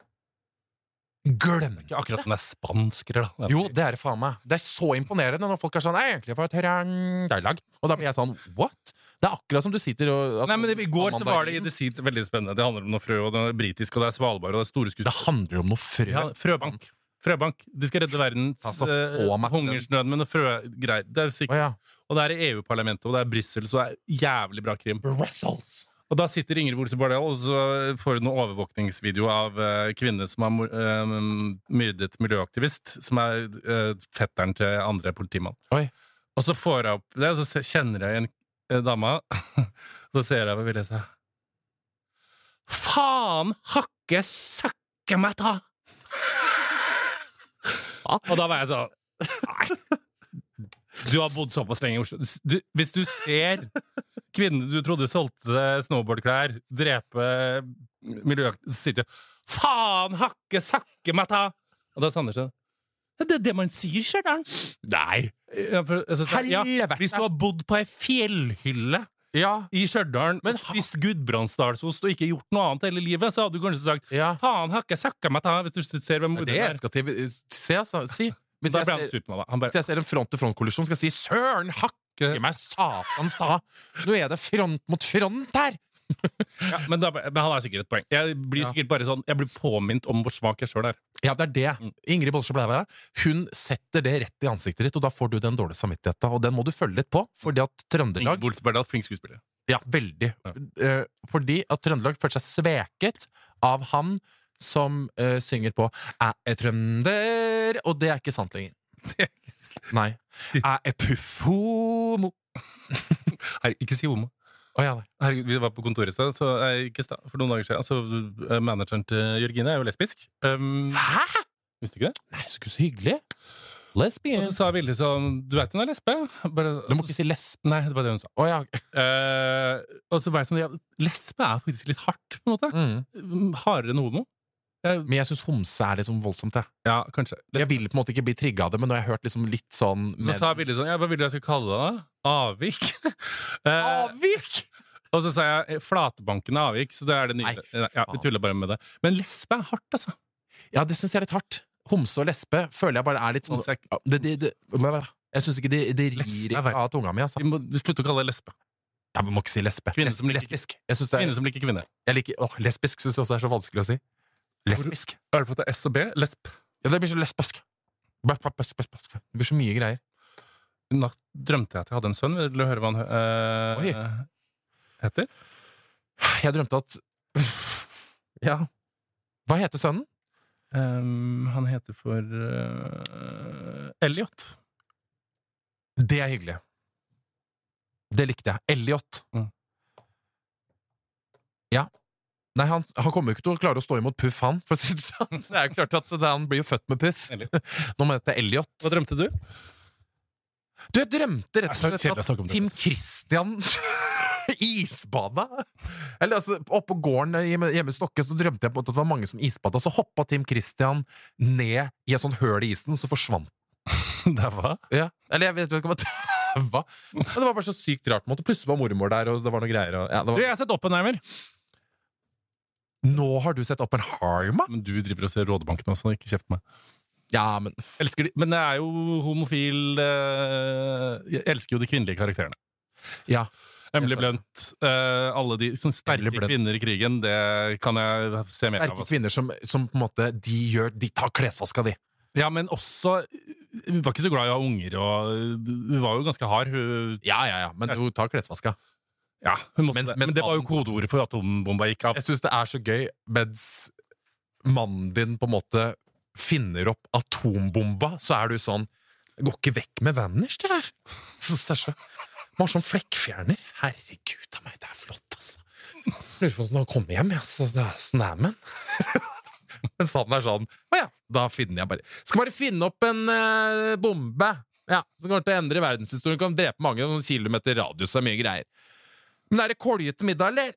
[SPEAKER 3] Glem
[SPEAKER 2] Ikke akkurat den er spansker, da.
[SPEAKER 3] Jo, det er det faen meg. Det er så imponerende når folk er sånn «Jeg er egentlig fra Trøndelag. Og da blir jeg sånn what? Det er akkurat som du sitter og at-
[SPEAKER 2] Nei, men I går så
[SPEAKER 3] Amanda-
[SPEAKER 2] var det i The Seeds veldig spennende. Det handler om noe frø, og det er britisk, og det er Svalbard, og det er store
[SPEAKER 3] Det
[SPEAKER 2] skuespill.
[SPEAKER 3] handler om noe frø.
[SPEAKER 2] Ja, frøbank. Frøbank. De skal redde verdens
[SPEAKER 3] Altså,
[SPEAKER 2] eh,
[SPEAKER 3] få meg til den.
[SPEAKER 2] hungersnød med noe frøgreier. Det er jo
[SPEAKER 3] Å
[SPEAKER 2] sikkert.
[SPEAKER 3] ja.
[SPEAKER 2] Og det er i EU-parlamentet, og det er Brussel, så det er jævlig bra krim.
[SPEAKER 3] Brussels.
[SPEAKER 2] Og da sitter Ingrid Bolse Bardal, og så får hun en overvåkningsvideo av uh, kvinne som har mor- eh, myrdet miljøaktivist, som er eh, fetteren til andre politimann.
[SPEAKER 3] Oi.
[SPEAKER 2] Og så får jeg opp det, og så se- kjenner jeg igjen uh, dama, og <laughs> så ser jeg hva vil jeg si. Faen hakke søkke meg ta! Og da var jeg sånn Du har bodd såpass lenge i Oslo. Du, hvis du ser kvinnen du trodde solgte snowboardklær, drepe miljøaktivister, så sier du 'faen hakke sakke meg ta'! Og da er Sandersen Det er det man sier, Stjørdal.
[SPEAKER 3] Nei!
[SPEAKER 2] Ja, for- jeg synes det- ja,
[SPEAKER 3] Helvete!
[SPEAKER 2] hvis du har bodd på ei fjellhylle
[SPEAKER 3] Ja.
[SPEAKER 2] i Stjørdal og spist gudbrandsdalsost og ikke gjort noe annet hele livet, så hadde du kanskje sagt
[SPEAKER 3] ja.
[SPEAKER 2] 'faen hakke sakke meg ta', hvis du ser hvem
[SPEAKER 3] Det
[SPEAKER 2] morderen er.
[SPEAKER 3] skal til Se, altså. Si. Hvis
[SPEAKER 2] Da
[SPEAKER 3] jeg
[SPEAKER 2] ble han
[SPEAKER 3] ser,
[SPEAKER 2] sur på meg, da. Han bare
[SPEAKER 3] hvis jeg ser en front-til-front-kollisjon, skal jeg si 'søren hakke meg satans da'! Nå er det front mot front her!
[SPEAKER 2] Ja, men, da, men han har sikkert et poeng. Jeg blir
[SPEAKER 3] Ja.
[SPEAKER 2] sikkert bare sånn Jeg blir påminnet om hvor svak jeg sjøl er.
[SPEAKER 3] Ja, det er det.
[SPEAKER 2] Mm.
[SPEAKER 3] Ingrid Bolsjø Blæve der. Hun setter det rett i ansiktet ditt, og da får du den dårlige samvittigheten. Og den må du følge litt på, fordi at
[SPEAKER 2] Ingrid
[SPEAKER 3] Trøndelag
[SPEAKER 2] Bolstad Berdal, flink
[SPEAKER 3] <laughs>
[SPEAKER 2] skuespiller.
[SPEAKER 3] Ja, veldig.
[SPEAKER 2] Ja.
[SPEAKER 3] Eh, fordi at Trøndelag føler seg sveket av han som eh, synger på 'Æ er trønder', og det er ikke sant lenger. Nei. 'Æ er puffomo'.
[SPEAKER 2] <laughs> Her, ikke si homo.
[SPEAKER 3] Å ja, nei.
[SPEAKER 2] Herregud, vi var på kontoret i sted, så eh, ikke sta- for noen dager siden. Altså, eh, manageren til Jørgine er jo lesbisk. Um,
[SPEAKER 3] Hæ?!
[SPEAKER 2] visste du ikke det?
[SPEAKER 3] Nei, så, så hyggelig.
[SPEAKER 2] Og
[SPEAKER 3] Lesbien.
[SPEAKER 2] så sa Vilde sånn Du veit hun er lesbe? Bare,
[SPEAKER 3] Du må ikke si lesb.
[SPEAKER 2] Nei, det var det hun sa.
[SPEAKER 3] Å ja.
[SPEAKER 2] Eh, og så var jeg sånn ja, Lesbe er faktisk litt hardt, på en måte.
[SPEAKER 3] Mm.
[SPEAKER 2] Hardere enn homo. Jeg,
[SPEAKER 3] Men jeg syns homse er litt sånn voldsomt, jeg.
[SPEAKER 2] ja, kanskje.
[SPEAKER 3] Jeg vil på en måte ikke bli trigga av det, men når jeg har hørt liksom litt sånn
[SPEAKER 2] Så sa Vilde sånn Ja, hva vil du jeg skal kalle deg, da? Avvik? <laughs> Eh,
[SPEAKER 3] Avvik!
[SPEAKER 2] Og så sa jeg eh, flatbanken er avvik, så det er det nye.
[SPEAKER 3] Nei, fy
[SPEAKER 2] Nei, ja, vi
[SPEAKER 3] faen.
[SPEAKER 2] tuller bare med det. Men lesbe er hardt, altså.
[SPEAKER 3] Ja, det syns jeg er litt hardt. Homse og lesbe føler jeg bare er litt sånn
[SPEAKER 2] Homse er-
[SPEAKER 3] Ja, det, det, det, Jeg syns ikke det, det
[SPEAKER 2] Lesbe
[SPEAKER 3] rir
[SPEAKER 2] er verre.
[SPEAKER 3] av tunga mi, altså.
[SPEAKER 2] Vi må slutte å kalle det lesbe.
[SPEAKER 3] Ja, men må ikke si lesbe.
[SPEAKER 2] Kvinne som liker-
[SPEAKER 3] lesbisk. Jeg synes det er,
[SPEAKER 2] Kvinne som liker kvinner.
[SPEAKER 3] jeg liker, åh, lesbisk syns jeg også er så vanskelig å si. Lesbisk.
[SPEAKER 2] Har du fått det S og B? Lesb.
[SPEAKER 3] Ja, det blir så lesbisk. Bæ, bæ, bæ, bæ, bæ, bæ. Det blir så mye greier.
[SPEAKER 2] I natt drømte jeg at jeg hadde en sønn. Vil du høre hva han eh, heter?
[SPEAKER 3] Jeg drømte at Ja. Hva heter sønnen?
[SPEAKER 2] Ehm, han heter for eh, Elliot.
[SPEAKER 3] Det er hyggelig. Det likte jeg. Elliot.
[SPEAKER 2] Mm.
[SPEAKER 3] Ja. Nei, han, han kommer jo ikke til å klare å stå imot Puff, han. For å si det sånn. <laughs> Det er jo klart at det- Han blir jo født med Puff.
[SPEAKER 2] Mm. Elliot.
[SPEAKER 3] <laughs> Nå må dette Elliot.
[SPEAKER 2] Hva drømte du?
[SPEAKER 3] Du, jeg drømte
[SPEAKER 2] Jeg
[SPEAKER 3] rett og
[SPEAKER 2] er så
[SPEAKER 3] slett
[SPEAKER 2] kjedelig å snakke om
[SPEAKER 3] at Tim Christian <laughs> isbada. Eller altså, oppå gården hjemme hjemme i Stokke så drømte jeg på en måte at det var mange som isbada. Så hoppa Tim Christian ned i et sånt høl i isen, så forsvant
[SPEAKER 2] <laughs> Det var
[SPEAKER 3] ja. Eller jeg <laughs> vet ikke hva det var. Men det var bare så sykt rart. på en måte. Plutselig var mormor der, og det var noe greier. Og, ja, det
[SPEAKER 2] Du,
[SPEAKER 3] var...
[SPEAKER 2] jeg har sett Oppenheimer.
[SPEAKER 3] Nå har du sett Oppenheimer?
[SPEAKER 2] Men du driver og ser Rådebanken også, ikke kjeft på meg.
[SPEAKER 3] Ja, men
[SPEAKER 2] Elsker de, men jeg er jo homofil eh, Jeg elsker jo de kvinnelige karakterene.
[SPEAKER 3] Ja.
[SPEAKER 2] Emily
[SPEAKER 3] Jeg skjønner.
[SPEAKER 2] Blunt, eh, alle de sånne sterke
[SPEAKER 3] Emily Blunt.
[SPEAKER 2] kvinner i krigen, det kan jeg se mer av.
[SPEAKER 3] Sterke
[SPEAKER 2] Altså.
[SPEAKER 3] kvinner som, som på en måte De gjør, de tar klesvaska, de.
[SPEAKER 2] Ja, men også Hun var ikke så glad i å ha unger, og hun var jo ganske hard. Hun,
[SPEAKER 3] Ja, ja, ja, men du tar klesvaska.
[SPEAKER 2] ja, hun måtte
[SPEAKER 3] Mens-
[SPEAKER 2] det.
[SPEAKER 3] mens
[SPEAKER 2] Men det var jo
[SPEAKER 3] mannen-
[SPEAKER 2] kodeordet for atombomba gikk av.
[SPEAKER 3] Jeg syns det er så gøy mens mannen din på en måte finner opp atombomba, så er du sånn Det går ikke vekk med Vanners, det her. <laughs> Jeg synes det er så Man har sånn flekkfjerner. Herregud av meg, det er flott, altså. Lurer på hvordan han kommer hjem, jeg. Altså, det er sånn det er med han. <laughs> Mens han er sånn Å ja, da finner jeg bare Skal bare finne opp en eh, bombe. Ja, Som kommer til å endre verdenshistorien. Kan drepe mange noen kilometer radius og mye greier. Men er det koljete middag, eller?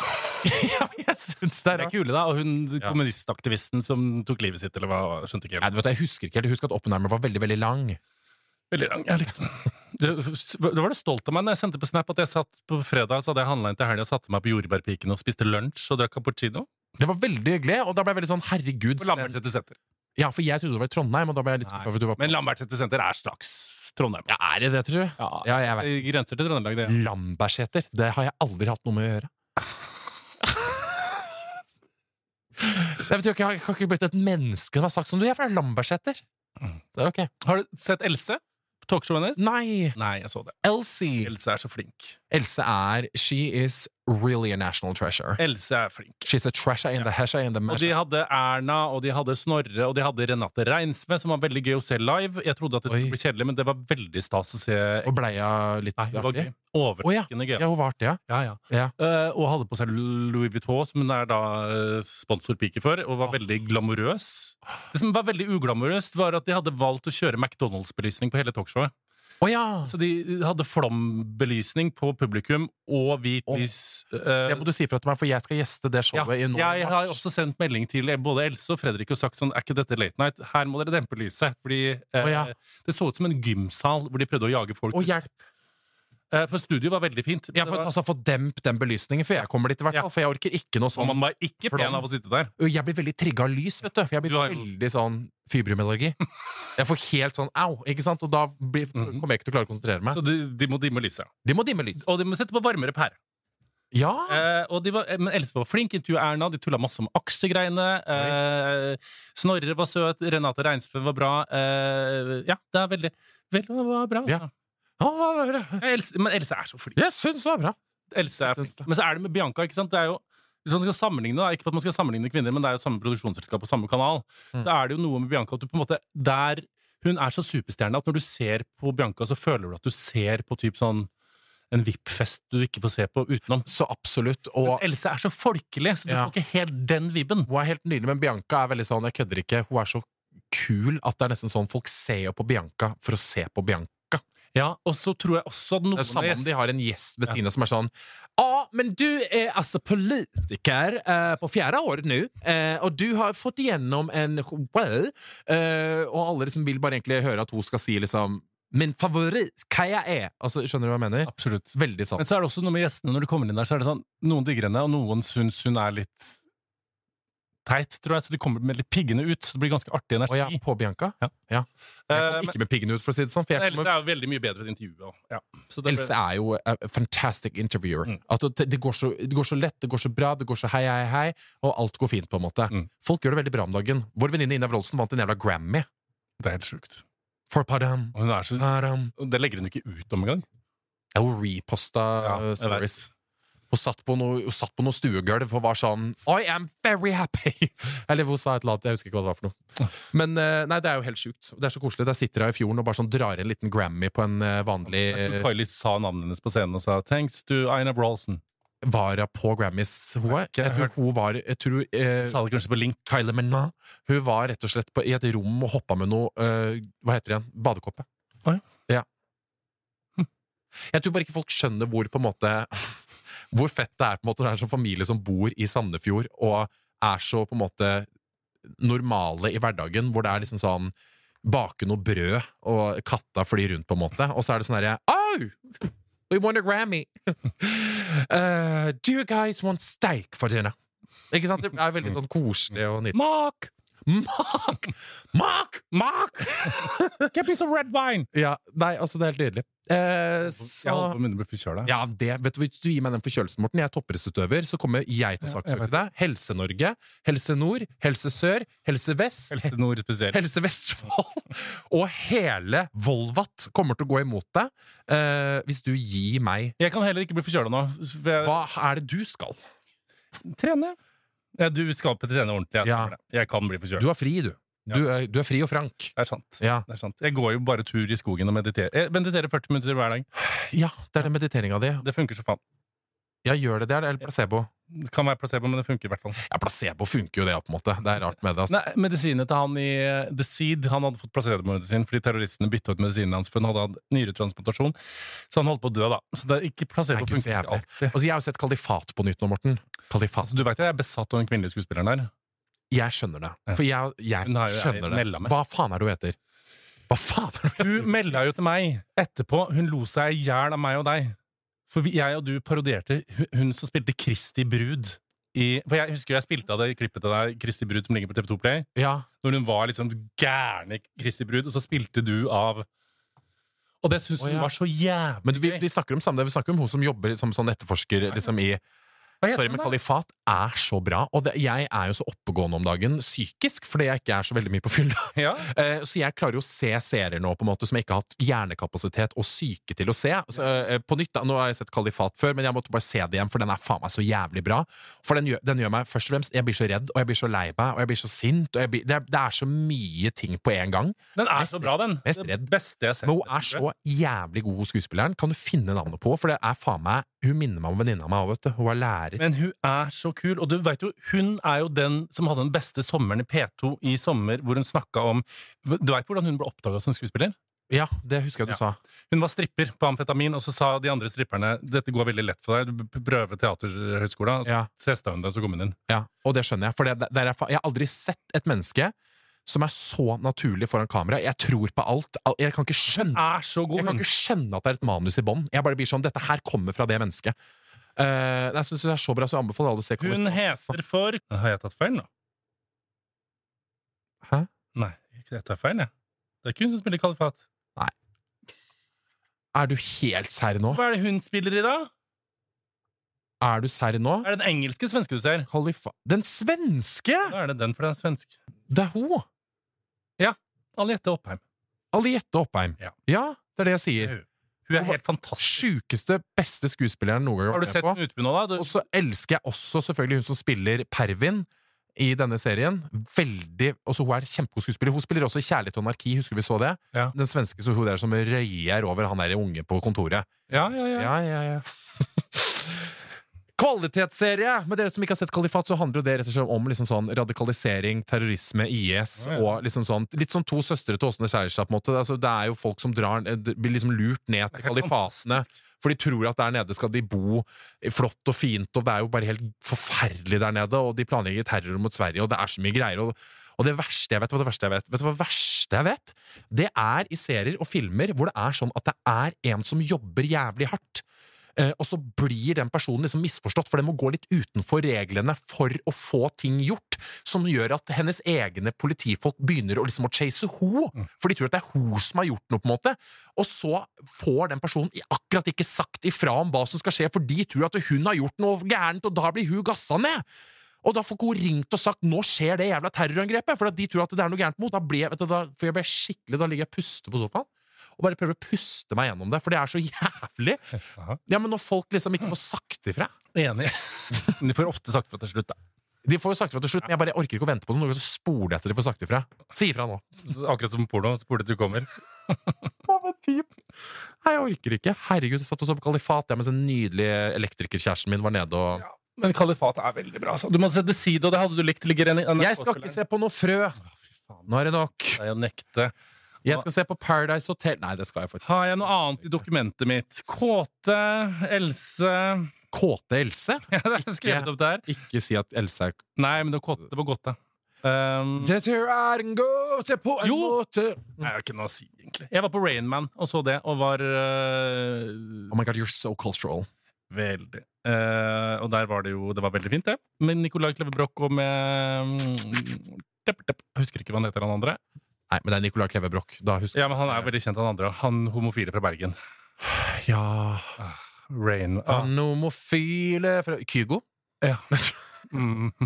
[SPEAKER 3] ja, men <laughs> jeg syns det
[SPEAKER 2] Det
[SPEAKER 3] er
[SPEAKER 2] er kule, da. Og hun
[SPEAKER 3] Ja.
[SPEAKER 2] kommunistaktivisten som tok livet sitt, eller hva? Skjønte ikke.
[SPEAKER 3] Nei, du vet, jeg husker ikke helt. Jeg husker at Oppenheimer var veldig veldig lang.
[SPEAKER 2] Veldig lang. Jeg likte den. Du, du var det stolt av meg når jeg sendte på Snap at jeg satt på fredag så hadde jeg handla inn til helga, satte meg på Jordbærpiken og spiste lunsj og drakk cappuccino.
[SPEAKER 3] Det var veldig hyggelig, og da ble jeg veldig sånn herregud
[SPEAKER 2] På Lambertseter senter.
[SPEAKER 3] Ja, For jeg trodde det var i Trondheim, og da ble jeg litt
[SPEAKER 2] Nei.
[SPEAKER 3] skuffa. Du var på...
[SPEAKER 2] Men Lambertseter senter er slags Trondheim.
[SPEAKER 3] Ja, er det det, tror du? Ja, jeg vet.
[SPEAKER 2] Det Grenser til Trøndelag, det.
[SPEAKER 3] Lambertseter. Det har jeg aldri hatt noe med å
[SPEAKER 2] <laughs>
[SPEAKER 3] gjøre. Jeg, vet jo ikke, jeg har ikke blitt et menneske som har sagt sånn Du, jeg er fra Lambertseter.
[SPEAKER 2] Mm.
[SPEAKER 3] Det er ok.
[SPEAKER 2] Har du sett Else? Talkshowet hennes?
[SPEAKER 3] Nei!
[SPEAKER 2] Nei, jeg så det.
[SPEAKER 3] Elsie.
[SPEAKER 2] Else er så flink.
[SPEAKER 3] Else er She is really a national treasure.
[SPEAKER 2] Else er flink.
[SPEAKER 3] She's a treasure in the hesha in the
[SPEAKER 2] Eh. Og
[SPEAKER 3] masha.
[SPEAKER 2] de hadde Erna, og de hadde Snorre, og de hadde Renate Reinsve, som var veldig gøy å se live. Jeg trodde at det
[SPEAKER 3] Oi.
[SPEAKER 2] skulle bli kjedelig, men det var veldig stas å se.
[SPEAKER 3] Og bleia litt
[SPEAKER 2] Nei, det var
[SPEAKER 3] artig.
[SPEAKER 2] gøy. Overraskende gøy.
[SPEAKER 3] Ja, hun var artig, ja.
[SPEAKER 2] Ja, ja.
[SPEAKER 3] ja.
[SPEAKER 2] Eh, og hadde på seg Louis Vuitton, som hun er da eh, sponsorpike for, og var veldig glamorøs. Det som var veldig uglamorøst, var at de hadde valgt å kjøre McDonald's-belysning på hele talkshowet.
[SPEAKER 3] Å ja!
[SPEAKER 2] Så de hadde flombelysning på publikum og hvit
[SPEAKER 3] Åh.
[SPEAKER 2] lys. eh,
[SPEAKER 3] Det må du si fra til meg, for jeg skal gjeste det
[SPEAKER 2] ja,
[SPEAKER 3] showet i nå.
[SPEAKER 2] jeg har også sendt melding til både Else og Fredrik og sagt sånn Er ikke dette late night? Her må dere dempe lyset. Fordi eh,
[SPEAKER 3] Å, ja.
[SPEAKER 2] det så ut som en gymsal hvor de prøvde å jage folk.
[SPEAKER 3] Og hjelp!
[SPEAKER 2] Eh, for studioet var veldig fint. men
[SPEAKER 3] Jeg
[SPEAKER 2] det
[SPEAKER 3] får
[SPEAKER 2] var,
[SPEAKER 3] altså få demp den belysningen før jeg kommer dit, i hvert
[SPEAKER 2] Ja.
[SPEAKER 3] fall. For jeg orker ikke noe
[SPEAKER 2] og
[SPEAKER 3] sånn.
[SPEAKER 2] man var ikke
[SPEAKER 3] Flom.
[SPEAKER 2] pen av å sitte der.
[SPEAKER 3] Og Jeg blir veldig trigga av lys, vet du. For jeg blir
[SPEAKER 2] Du har jo-
[SPEAKER 3] veldig sånn
[SPEAKER 2] <laughs>
[SPEAKER 3] fibromyallergi. Jeg får helt sånn au, ikke sant? Og da blir,
[SPEAKER 2] Mhm.
[SPEAKER 3] kommer jeg ikke til å klare å konsentrere meg.
[SPEAKER 2] Så de, de må dimme lyset.
[SPEAKER 3] De må dimme lys.
[SPEAKER 2] Og de må sette på varmere pære.
[SPEAKER 3] Ja!
[SPEAKER 2] Eh, og de var, eh, men Else var flink, intervju Erna, de tulla masse om aksjegreiene. Eh, Snorre var søt, Renate Reinsve var bra. Eh, ja, det er veldig Vel, det var bra.
[SPEAKER 3] Ja.
[SPEAKER 2] altså.
[SPEAKER 3] Ja, hva var det?
[SPEAKER 2] Ja, Else, men Else er så flink.
[SPEAKER 3] Jeg syns det var bra.
[SPEAKER 2] Else er
[SPEAKER 3] Jeg syns
[SPEAKER 2] flink. Men så er det med Bianca. ikke sant? Det er jo, hvis man skal sammenligne, da, Ikke for at man skal sammenligne kvinner, men det er jo samme produksjonsselskap og samme kanal.
[SPEAKER 3] Mm.
[SPEAKER 2] Så er det jo noe med Bianca at du på en måte der Hun er så superstjerne at når du ser på Bianca, så føler du at du ser på typ sånn en VIP-fest du ikke får se på utenom.
[SPEAKER 3] Så absolutt.
[SPEAKER 2] Men
[SPEAKER 3] Og
[SPEAKER 2] Else er så folkelig, så du
[SPEAKER 3] Ja.
[SPEAKER 2] får ikke helt den vibben.
[SPEAKER 3] hun er helt nydelig, men Bianca er veldig sånn Jeg kødder ikke. Hun er så kul at det er nesten sånn folk ser jo på Bianca for å se på Bianca.
[SPEAKER 2] Ja, og så tror jeg også at noen
[SPEAKER 3] Det er samme om de har en gjest ved
[SPEAKER 2] Ja.
[SPEAKER 3] siden av som er sånn Ja, men du er altså politiker eh, på fjerde år nå, eh, og du har fått igjennom en show, eh, og alle liksom vil bare egentlig høre at hun skal si liksom Min favoritt, hva jeg er. Altså, skjønner du hva jeg mener?
[SPEAKER 2] Absolutt.
[SPEAKER 3] Veldig sånn. sant.
[SPEAKER 2] Men så er det også noe med gjestene når de kommer inn der, så er det sånn Noen digger henne, og noen syns hun er litt teit, tror jeg, så de kommer med litt piggende ut, så det blir ganske artig
[SPEAKER 3] Å ja,
[SPEAKER 2] energi.
[SPEAKER 3] på Bianca?
[SPEAKER 2] Ja.
[SPEAKER 3] Jeg
[SPEAKER 2] Eh,
[SPEAKER 3] kom ikke med piggene ut, for å si det sånn. For
[SPEAKER 2] men
[SPEAKER 3] jeg
[SPEAKER 2] Else
[SPEAKER 3] kommer,
[SPEAKER 2] er jo veldig mye bedre i intervjuet. og- Ja. Så det ble-
[SPEAKER 3] Else er jo a fantastic interviewer.
[SPEAKER 2] Mm.
[SPEAKER 3] At det, det, går så, det går så lett, det går så bra, det går så hei, hei, hei, og alt går fint, på en måte.
[SPEAKER 2] Mm.
[SPEAKER 3] Folk gjør det veldig bra om dagen. Vår venninne Ina Wroldsen vant en jævla Grammy.
[SPEAKER 2] det er helt sjukt.
[SPEAKER 3] For padam.
[SPEAKER 2] Og hun er så, og det legger hun ikke ut om engang.
[SPEAKER 3] Ja, hun reposta
[SPEAKER 2] Ja,
[SPEAKER 3] eh,
[SPEAKER 2] jeg
[SPEAKER 3] stories. Hun satt, på noe, hun satt på noe stuegulv og var sånn I am very happy! <laughs> Eller hun sa et eller annet. Jeg husker ikke hva det var for noe. Men eh, nei, det er jo helt sjukt. Det er så koselig. Der sitter hun i fjorden og bare sånn drar en liten Grammy på en eh, vanlig
[SPEAKER 2] Jeg tror
[SPEAKER 3] eh,
[SPEAKER 2] Kylie sa navnet hennes på scenen og sa 'Thanks to Aina Brolson'.
[SPEAKER 3] eh, vara på Grammys. Hun, er-
[SPEAKER 2] Jeg
[SPEAKER 3] jeg tror hun var jeg tror, eh,
[SPEAKER 2] Sa det kanskje på link.
[SPEAKER 3] Kylie Minogue. Hun var rett og slett på, i et rom og hoppa med noe eh, Hva heter det igjen? Badekåpe.
[SPEAKER 2] Å,
[SPEAKER 3] ja. Jeg tror bare ikke folk skjønner hvor på en måte <laughs> Hvor fett det er på en måte når det er en sånn familie som bor i Sandefjord og er så på en måte normale i hverdagen, hvor det er liksom sånn Bake noe brød, og katta flyr rundt, på en måte. Og så er det sånn herre Oh! We want a Grammy! <laughs> Eh, do you guys want steak for dinner? Ikke sant? Det er veldig sånn koselig og nydelig.
[SPEAKER 2] Mark!
[SPEAKER 3] Mak! Mak! <laughs>
[SPEAKER 2] Mark! Get me some red wine!
[SPEAKER 3] Ja, nei, altså, det er helt nydelig. Eh,
[SPEAKER 2] Jeg holder på
[SPEAKER 3] så
[SPEAKER 2] å begynne å bli forkjøla.
[SPEAKER 3] ja, det, vet du, Hvis du gir meg den forkjølelsen, Morten, jeg er toppidrettsutøver, så kommer jeg til å
[SPEAKER 2] Ja, jeg
[SPEAKER 3] saksøke deg. Helse-Norge, Helse Nord, Helse Sør, Helse Vest,
[SPEAKER 2] Helse Nord spesielt.
[SPEAKER 3] Helse Vestfold <laughs> og hele Volvat kommer til å gå imot deg eh, hvis du gir meg
[SPEAKER 2] Jeg kan heller ikke bli forkjøla nå. For jeg
[SPEAKER 3] Hva er det du skal?
[SPEAKER 2] trener. Ja, du skal på trene ordentlig. Jeg,
[SPEAKER 3] Ja.
[SPEAKER 2] tror det. jeg kan bli forkjøla.
[SPEAKER 3] Du er fri, du. Du er, du er fri og frank.
[SPEAKER 2] Det er sant.
[SPEAKER 3] Ja.
[SPEAKER 2] Det er sant. Jeg går jo bare tur i skogen og mediterer. Jeg mediterer 40 minutter hver dag.
[SPEAKER 3] ja, det er den mediteringa di.
[SPEAKER 2] Det funker så faen.
[SPEAKER 3] Jeg gjør det, det er eller placebo.
[SPEAKER 2] Det kan være placebo, men det funker i hvert fall.
[SPEAKER 3] Ja, placebo funker jo det, på en måte. Det er rart med det. Altså.
[SPEAKER 2] Nei, Medisinet til han i eh, The Seed Han hadde fått placebo-medisin fordi terroristene bytta ut medisinen hans. For han hadde hatt nyretransplantasjon, så han holdt på å dø, da. Så det er ikke placebo
[SPEAKER 3] Nei, gud, så
[SPEAKER 2] funker ikke
[SPEAKER 3] jævlig.
[SPEAKER 2] alltid.
[SPEAKER 3] Altså, jeg har jo sett Kalifat på nytt nå, Morten. Kalifat.
[SPEAKER 2] Altså, du vet jeg er besatt av den kvinnelige skuespilleren der.
[SPEAKER 3] Jeg skjønner det. For jeg, jeg
[SPEAKER 2] Hun har jo
[SPEAKER 3] skjønner
[SPEAKER 2] melda
[SPEAKER 3] det.
[SPEAKER 2] meg.
[SPEAKER 3] Hva faen er det hun heter? Hva faen er det hun heter?
[SPEAKER 2] Hun melda jo til meg etterpå. Hun lo seg i hjel av meg og deg. For vi- jeg og du parodierte hu- hun som spilte Kristi brud. I, for jeg husker jeg spilte av det klippet av deg, Kristi brud, som ligger på TV2 Play.
[SPEAKER 3] Ja.
[SPEAKER 2] Når hun var liksom gæren i Kristi brud, og så spilte du av Og det syns
[SPEAKER 3] Å,
[SPEAKER 2] hun
[SPEAKER 3] ja.
[SPEAKER 2] var så jævlig
[SPEAKER 3] Men vi,
[SPEAKER 2] gøy.
[SPEAKER 3] vi snakker om samme det. Vi snakker om hun som jobber som sånn etterforsker liksom, i
[SPEAKER 2] Hva heter
[SPEAKER 3] Sorry,
[SPEAKER 2] den
[SPEAKER 3] men
[SPEAKER 2] da?
[SPEAKER 3] Kalifat er så bra. Og det, jeg er jo så oppegående om dagen psykisk, fordi jeg ikke er så veldig mye på fylla.
[SPEAKER 2] Ja.
[SPEAKER 3] Eh, Så jeg klarer jo å se serier nå på en måte som jeg ikke har hatt hjernekapasitet og syke til å se. Så, eh, på nytt da, Nå har jeg sett Kalifat før, men jeg måtte bare se det igjen, for den er faen meg så jævlig bra. For den gjør, den gjør meg først og fremst Jeg blir så redd, og jeg blir så lei meg, og jeg blir så sint. Og jeg blir, det, er, det er så mye ting på en gang.
[SPEAKER 2] Den er
[SPEAKER 3] Mest
[SPEAKER 2] så bra, den.
[SPEAKER 3] mest
[SPEAKER 2] Det
[SPEAKER 3] redd.
[SPEAKER 2] beste jeg har sett.
[SPEAKER 3] Men hun er så jævlig god skuespilleren. Kan du finne navnet på? For det er faen meg Hun minner meg om venninna mi òg, vet du. Hun er lærer.
[SPEAKER 2] Men hun er så kul, og du vet jo, hun er jo den som hadde den beste sommeren i P2 i sommer, hvor hun snakka om Du veit hvordan hun ble oppdaga som skuespiller?
[SPEAKER 3] Ja, det husker jeg du sa.
[SPEAKER 2] Hun var stripper på amfetamin, og så sa de andre stripperne dette går veldig lett for deg, du p- prøver teaterhøgskolen, og så
[SPEAKER 3] Ja. Mm.
[SPEAKER 2] testa hun det, og så kom hun inn.
[SPEAKER 3] Ja, og det skjønner jeg. For det, det- der er, fa- jeg har aldri sett et menneske som er så naturlig foran kamera. Jeg tror på alt. Al- Jeg kan ikke skjønne,
[SPEAKER 2] Er så Ah,
[SPEAKER 3] jeg
[SPEAKER 2] god,
[SPEAKER 3] kan
[SPEAKER 2] hun!
[SPEAKER 3] ikke skjønne at det er et manus i bånn. Jeg bare blir sånn Dette her kommer fra det mennesket. Eh, jeg syns det er så bra, så jeg anbefaler alle å se
[SPEAKER 2] Hun
[SPEAKER 3] Kalifat.
[SPEAKER 2] heter for Har jeg tatt feil nå?
[SPEAKER 3] Hæ?
[SPEAKER 2] Nei, ikke jeg tar feil, jeg. Det er ikke hun som spiller Kalifat.
[SPEAKER 3] Er du helt serr nå?
[SPEAKER 2] Hva er det hun spiller i, da?
[SPEAKER 3] Er du serr nå?
[SPEAKER 2] Er det den engelske svenske du ser?
[SPEAKER 3] Kalifat Den svenske!
[SPEAKER 2] Da er det den, for den er svensk.
[SPEAKER 3] Det er hun!
[SPEAKER 2] Aliette Oppheim.
[SPEAKER 3] Aliette Oppheim.
[SPEAKER 2] Ja.
[SPEAKER 3] det er det jeg sier.
[SPEAKER 2] Hun Hun er
[SPEAKER 3] Hun var-
[SPEAKER 2] helt fantastisk.
[SPEAKER 3] Sjukeste, beste skuespilleren noen gang
[SPEAKER 2] Har du
[SPEAKER 3] vært med
[SPEAKER 2] sett
[SPEAKER 3] på.
[SPEAKER 2] den utpå nå, da? Du,
[SPEAKER 3] Og så elsker jeg også selvfølgelig hun som spiller Pervin i denne serien. Veldig, også Hun er kjempegod skuespiller. Hun spiller også i Kjærlighet og anarki. Husker vi så det?
[SPEAKER 2] Ja.
[SPEAKER 3] Den svenske som hun der som røyer over han der unge på kontoret.
[SPEAKER 2] ja, ja, ja.
[SPEAKER 3] Ja, ja, <laughs> ja. Kvalitetsserie! Med dere som ikke har sett Kalifat, så handler jo det rett og slett om liksom sånn radikalisering, terrorisme, IS
[SPEAKER 2] Ja, ja.
[SPEAKER 3] og liksom sånn Litt som to søstre til Åsne Kjærestad, på en måte. Altså, det er jo folk som drar, eh, blir liksom lurt ned til
[SPEAKER 2] Det er helt
[SPEAKER 3] kalifatene. For de tror at der nede skal de bo flott og fint, og det er jo bare helt forferdelig der nede. Og de planlegger terror mot Sverige, og det er så mye greier. Og, og det verste jeg vet, vet du hva det verste jeg vet? Vet du hva det verste jeg vet? Det er i serier og filmer hvor det er sånn at det er en som jobber jævlig hardt. eh, Og så blir den personen liksom misforstått, for den må gå litt utenfor reglene for å få ting gjort, som gjør at hennes egne politifolk begynner å liksom å chase ho, for de tror at det er ho som har gjort noe, på en måte. Og så får den personen i- akkurat ikke sagt ifra om hva som skal skje, for de tror at hun har gjort noe gærent, og da blir hun gassa ned. Og da får ikke hun ringt og sagt 'nå skjer det jævla terrorangrepet', for at de tror at det er noe gærent mot. Da ble, vet du, da, for jeg ble skikkelig, da ligger jeg og puster på sofaen. Og bare prøver å puste meg gjennom det, for det er så <laughs> jævlig.
[SPEAKER 2] Aha.
[SPEAKER 3] Ja, Men når folk liksom ikke får sagt ifra
[SPEAKER 2] Enig. <laughs> Men Du får ofte sagt fra til slutt, da.
[SPEAKER 3] De får jo sagt ifra til slutt, men jeg bare orker ikke å vente på det. Noen ganger så spoler jeg etter de får sagt ifra. Si ifra nå.
[SPEAKER 2] Akkurat som porno. Spole til du kommer.
[SPEAKER 3] Nei, jeg orker ikke. Herregud, jeg satt og så på Kalifat jeg, mens den nydelige elektrikerkjæresten min var nede og
[SPEAKER 2] Men Kalifat er veldig bra. altså. Du må se The Seed, og det hadde du likt. Ligger en, en,
[SPEAKER 3] Jeg skal ikke se på noe frø! Nå er det nok.
[SPEAKER 2] Det er å nekte.
[SPEAKER 3] Jeg skal se på Paradise Hotel. Nei, det skal jeg faktisk.
[SPEAKER 2] Har jeg noe annet i dokumentet mitt? Kåte, Else <laughs>
[SPEAKER 3] Kåte Else?
[SPEAKER 2] Ja, det er skrevet opp der.
[SPEAKER 3] Ikke si at Else er
[SPEAKER 2] Nei, men det var Kåte. Det var godt, da. Um,
[SPEAKER 3] Dette er en gåte på en
[SPEAKER 2] Jo.
[SPEAKER 3] måte
[SPEAKER 2] nei, jeg har ikke noe å si, egentlig. Jeg var på Rainman og så det, og var øh,
[SPEAKER 3] Oh my god, you're so cultural.
[SPEAKER 2] Veldig. Eh, øh, og der var det jo Det var veldig fint, det. Med Nicolai Klevebrok og med mm, tepp, tepp. Jeg Husker ikke hva han heter, han andre.
[SPEAKER 3] Nei, men det er Nicolai Kleve Broch. Da husker
[SPEAKER 2] Ja, men Han er veldig kjent, han andre. Han homofile fra Bergen.
[SPEAKER 3] jeg. Ja.
[SPEAKER 2] Rain. Ah.
[SPEAKER 3] Han homofile fra Kygo?
[SPEAKER 2] Ja. <laughs> Mm. <laughs>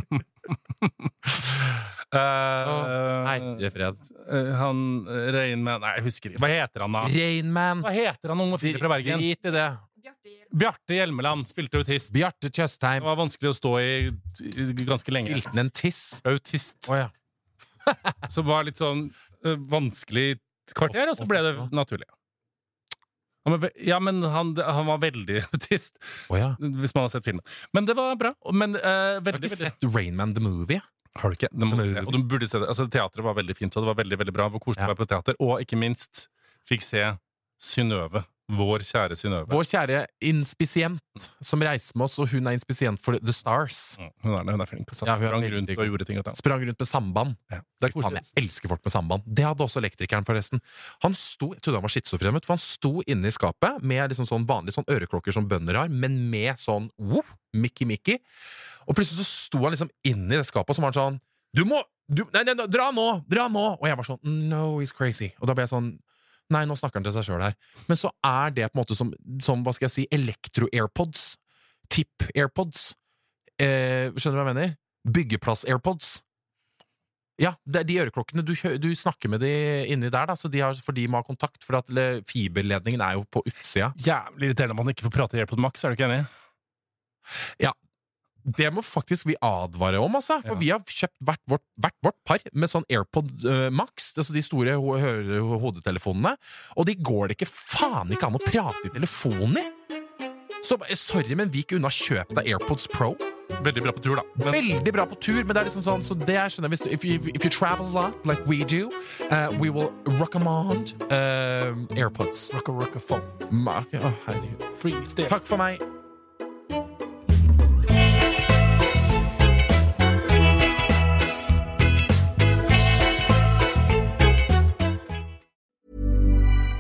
[SPEAKER 2] Eh,
[SPEAKER 3] Herre fred.
[SPEAKER 2] eh, han eh, Rainman Nei, jeg husker ikke. Hva heter han, da?
[SPEAKER 3] Rainman.
[SPEAKER 2] Hva heter han homofile fra Bergen?
[SPEAKER 3] Drit i det.
[SPEAKER 2] Bjarte Hjelmeland spilte autist.
[SPEAKER 3] Bjarte
[SPEAKER 2] Det
[SPEAKER 3] Tjøstheim.
[SPEAKER 2] var vanskelig å stå i i- ganske lenge.
[SPEAKER 3] Spilte han en tiss?
[SPEAKER 2] Autist.
[SPEAKER 3] Å ja.
[SPEAKER 2] som var litt sånn ø, vanskelig kvarter, og så ble det naturlig. Ja, men, ja, men han, han var veldig <laughs> autist,
[SPEAKER 3] Å ja.
[SPEAKER 2] hvis man har sett filmen. Men det var bra. Men, ø,
[SPEAKER 3] Jeg har
[SPEAKER 2] veldig,
[SPEAKER 3] ikke
[SPEAKER 2] veldig,
[SPEAKER 3] sett Rainman the Movie.
[SPEAKER 2] har du ikke? Det må du
[SPEAKER 3] Nei.
[SPEAKER 2] se. Og du burde se det. Altså, teatret var veldig fint, og det var veldig veldig bra. Hvor koselig
[SPEAKER 3] Ja.
[SPEAKER 2] det var på teater. Og ikke minst fikk se Synnøve. Vår kjære Synnøve.
[SPEAKER 3] Vår kjære inspisient som reiser med oss, og hun er inspisient for The Stars.
[SPEAKER 2] Mm, Hun, er- hun er flink på sats.
[SPEAKER 3] Ja, hun er
[SPEAKER 2] Sprang
[SPEAKER 3] veldig
[SPEAKER 2] rundt
[SPEAKER 3] god.
[SPEAKER 2] og gjorde ting. Og tang.
[SPEAKER 3] Sprang rundt med samband.
[SPEAKER 2] ja. Det er
[SPEAKER 3] Faen,
[SPEAKER 2] koselig.
[SPEAKER 3] jeg elsker folk med samband. Det hadde også elektrikeren, forresten. Han sto, jeg trodde han var schizofren, vet du, for han sto inne i skapet med liksom sånn vanlige sånn øreklokker som bønder har, men med sånn woo, Mickey Mickey. Og plutselig så sto han liksom inne i det skapet, og så var han sånn Du må du, nei, nei, nei, dra nå! Dra nå! Og jeg var sånn No, he's crazy. Og da ble jeg sånn Nei, nå snakker han til seg sjøl her. Men så er det på en måte som, som hva skal jeg si, elektro-airpods. Tipp-airpods. eh, Skjønner du hva jeg mener? Byggeplass-airpods. Ja, det er de øreklokkene. Du, hø- du snakker med de inni der, da, så de har, for de må ha kontakt. For at le- fiberledningen er jo på utsida.
[SPEAKER 2] Jævlig irriterende om man ikke får prate i AirPod Max, er du ikke enig?
[SPEAKER 3] Det må faktisk vi advare om, altså. For
[SPEAKER 2] Ja.
[SPEAKER 3] vi har kjøpt hvert vårt, hvert vårt par med sånn AirPod eh, Max, altså de store ho hø- hodetelefonene, og de går det ikke faen ikke an å prate i telefonen i! Så eh, sorry, men vik unna kjøp deg AirPods Pro.
[SPEAKER 2] Veldig bra på tur, da. Men
[SPEAKER 3] Veldig bra på tur, men det er liksom sånn Så det er skjønner jeg hvis du, if, you, if you travel a lot, like we do uh, We will rock em on uh, Airpods Rock a rock a phone herregud
[SPEAKER 2] freestyle.
[SPEAKER 3] Takk for meg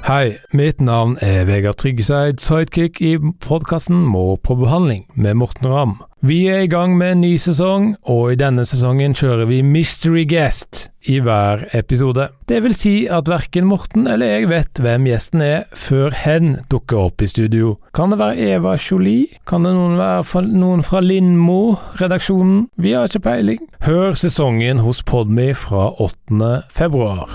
[SPEAKER 7] Hei, mitt navn er Vegard Tryggeseid, sidekick i podkasten Må på behandling med Morten Ramm. Vi er i gang med en ny sesong, og i denne sesongen kjører vi Mystery Guest i hver episode. Det vil si at verken Morten eller jeg vet hvem gjesten er før hen dukker opp i studio. Kan det være Eva Jolie? Kan det noen være fra, noen fra Lindmo-redaksjonen? Vi har ikke peiling. Hør sesongen hos Podme fra 8. februar.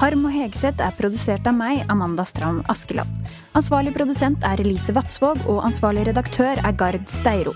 [SPEAKER 8] Harm og Hegseth er produsert av meg, Amanda Strand Askeland. Ansvarlig produsent er Elise Vatsvåg, og ansvarlig redaktør er Gard Steiro.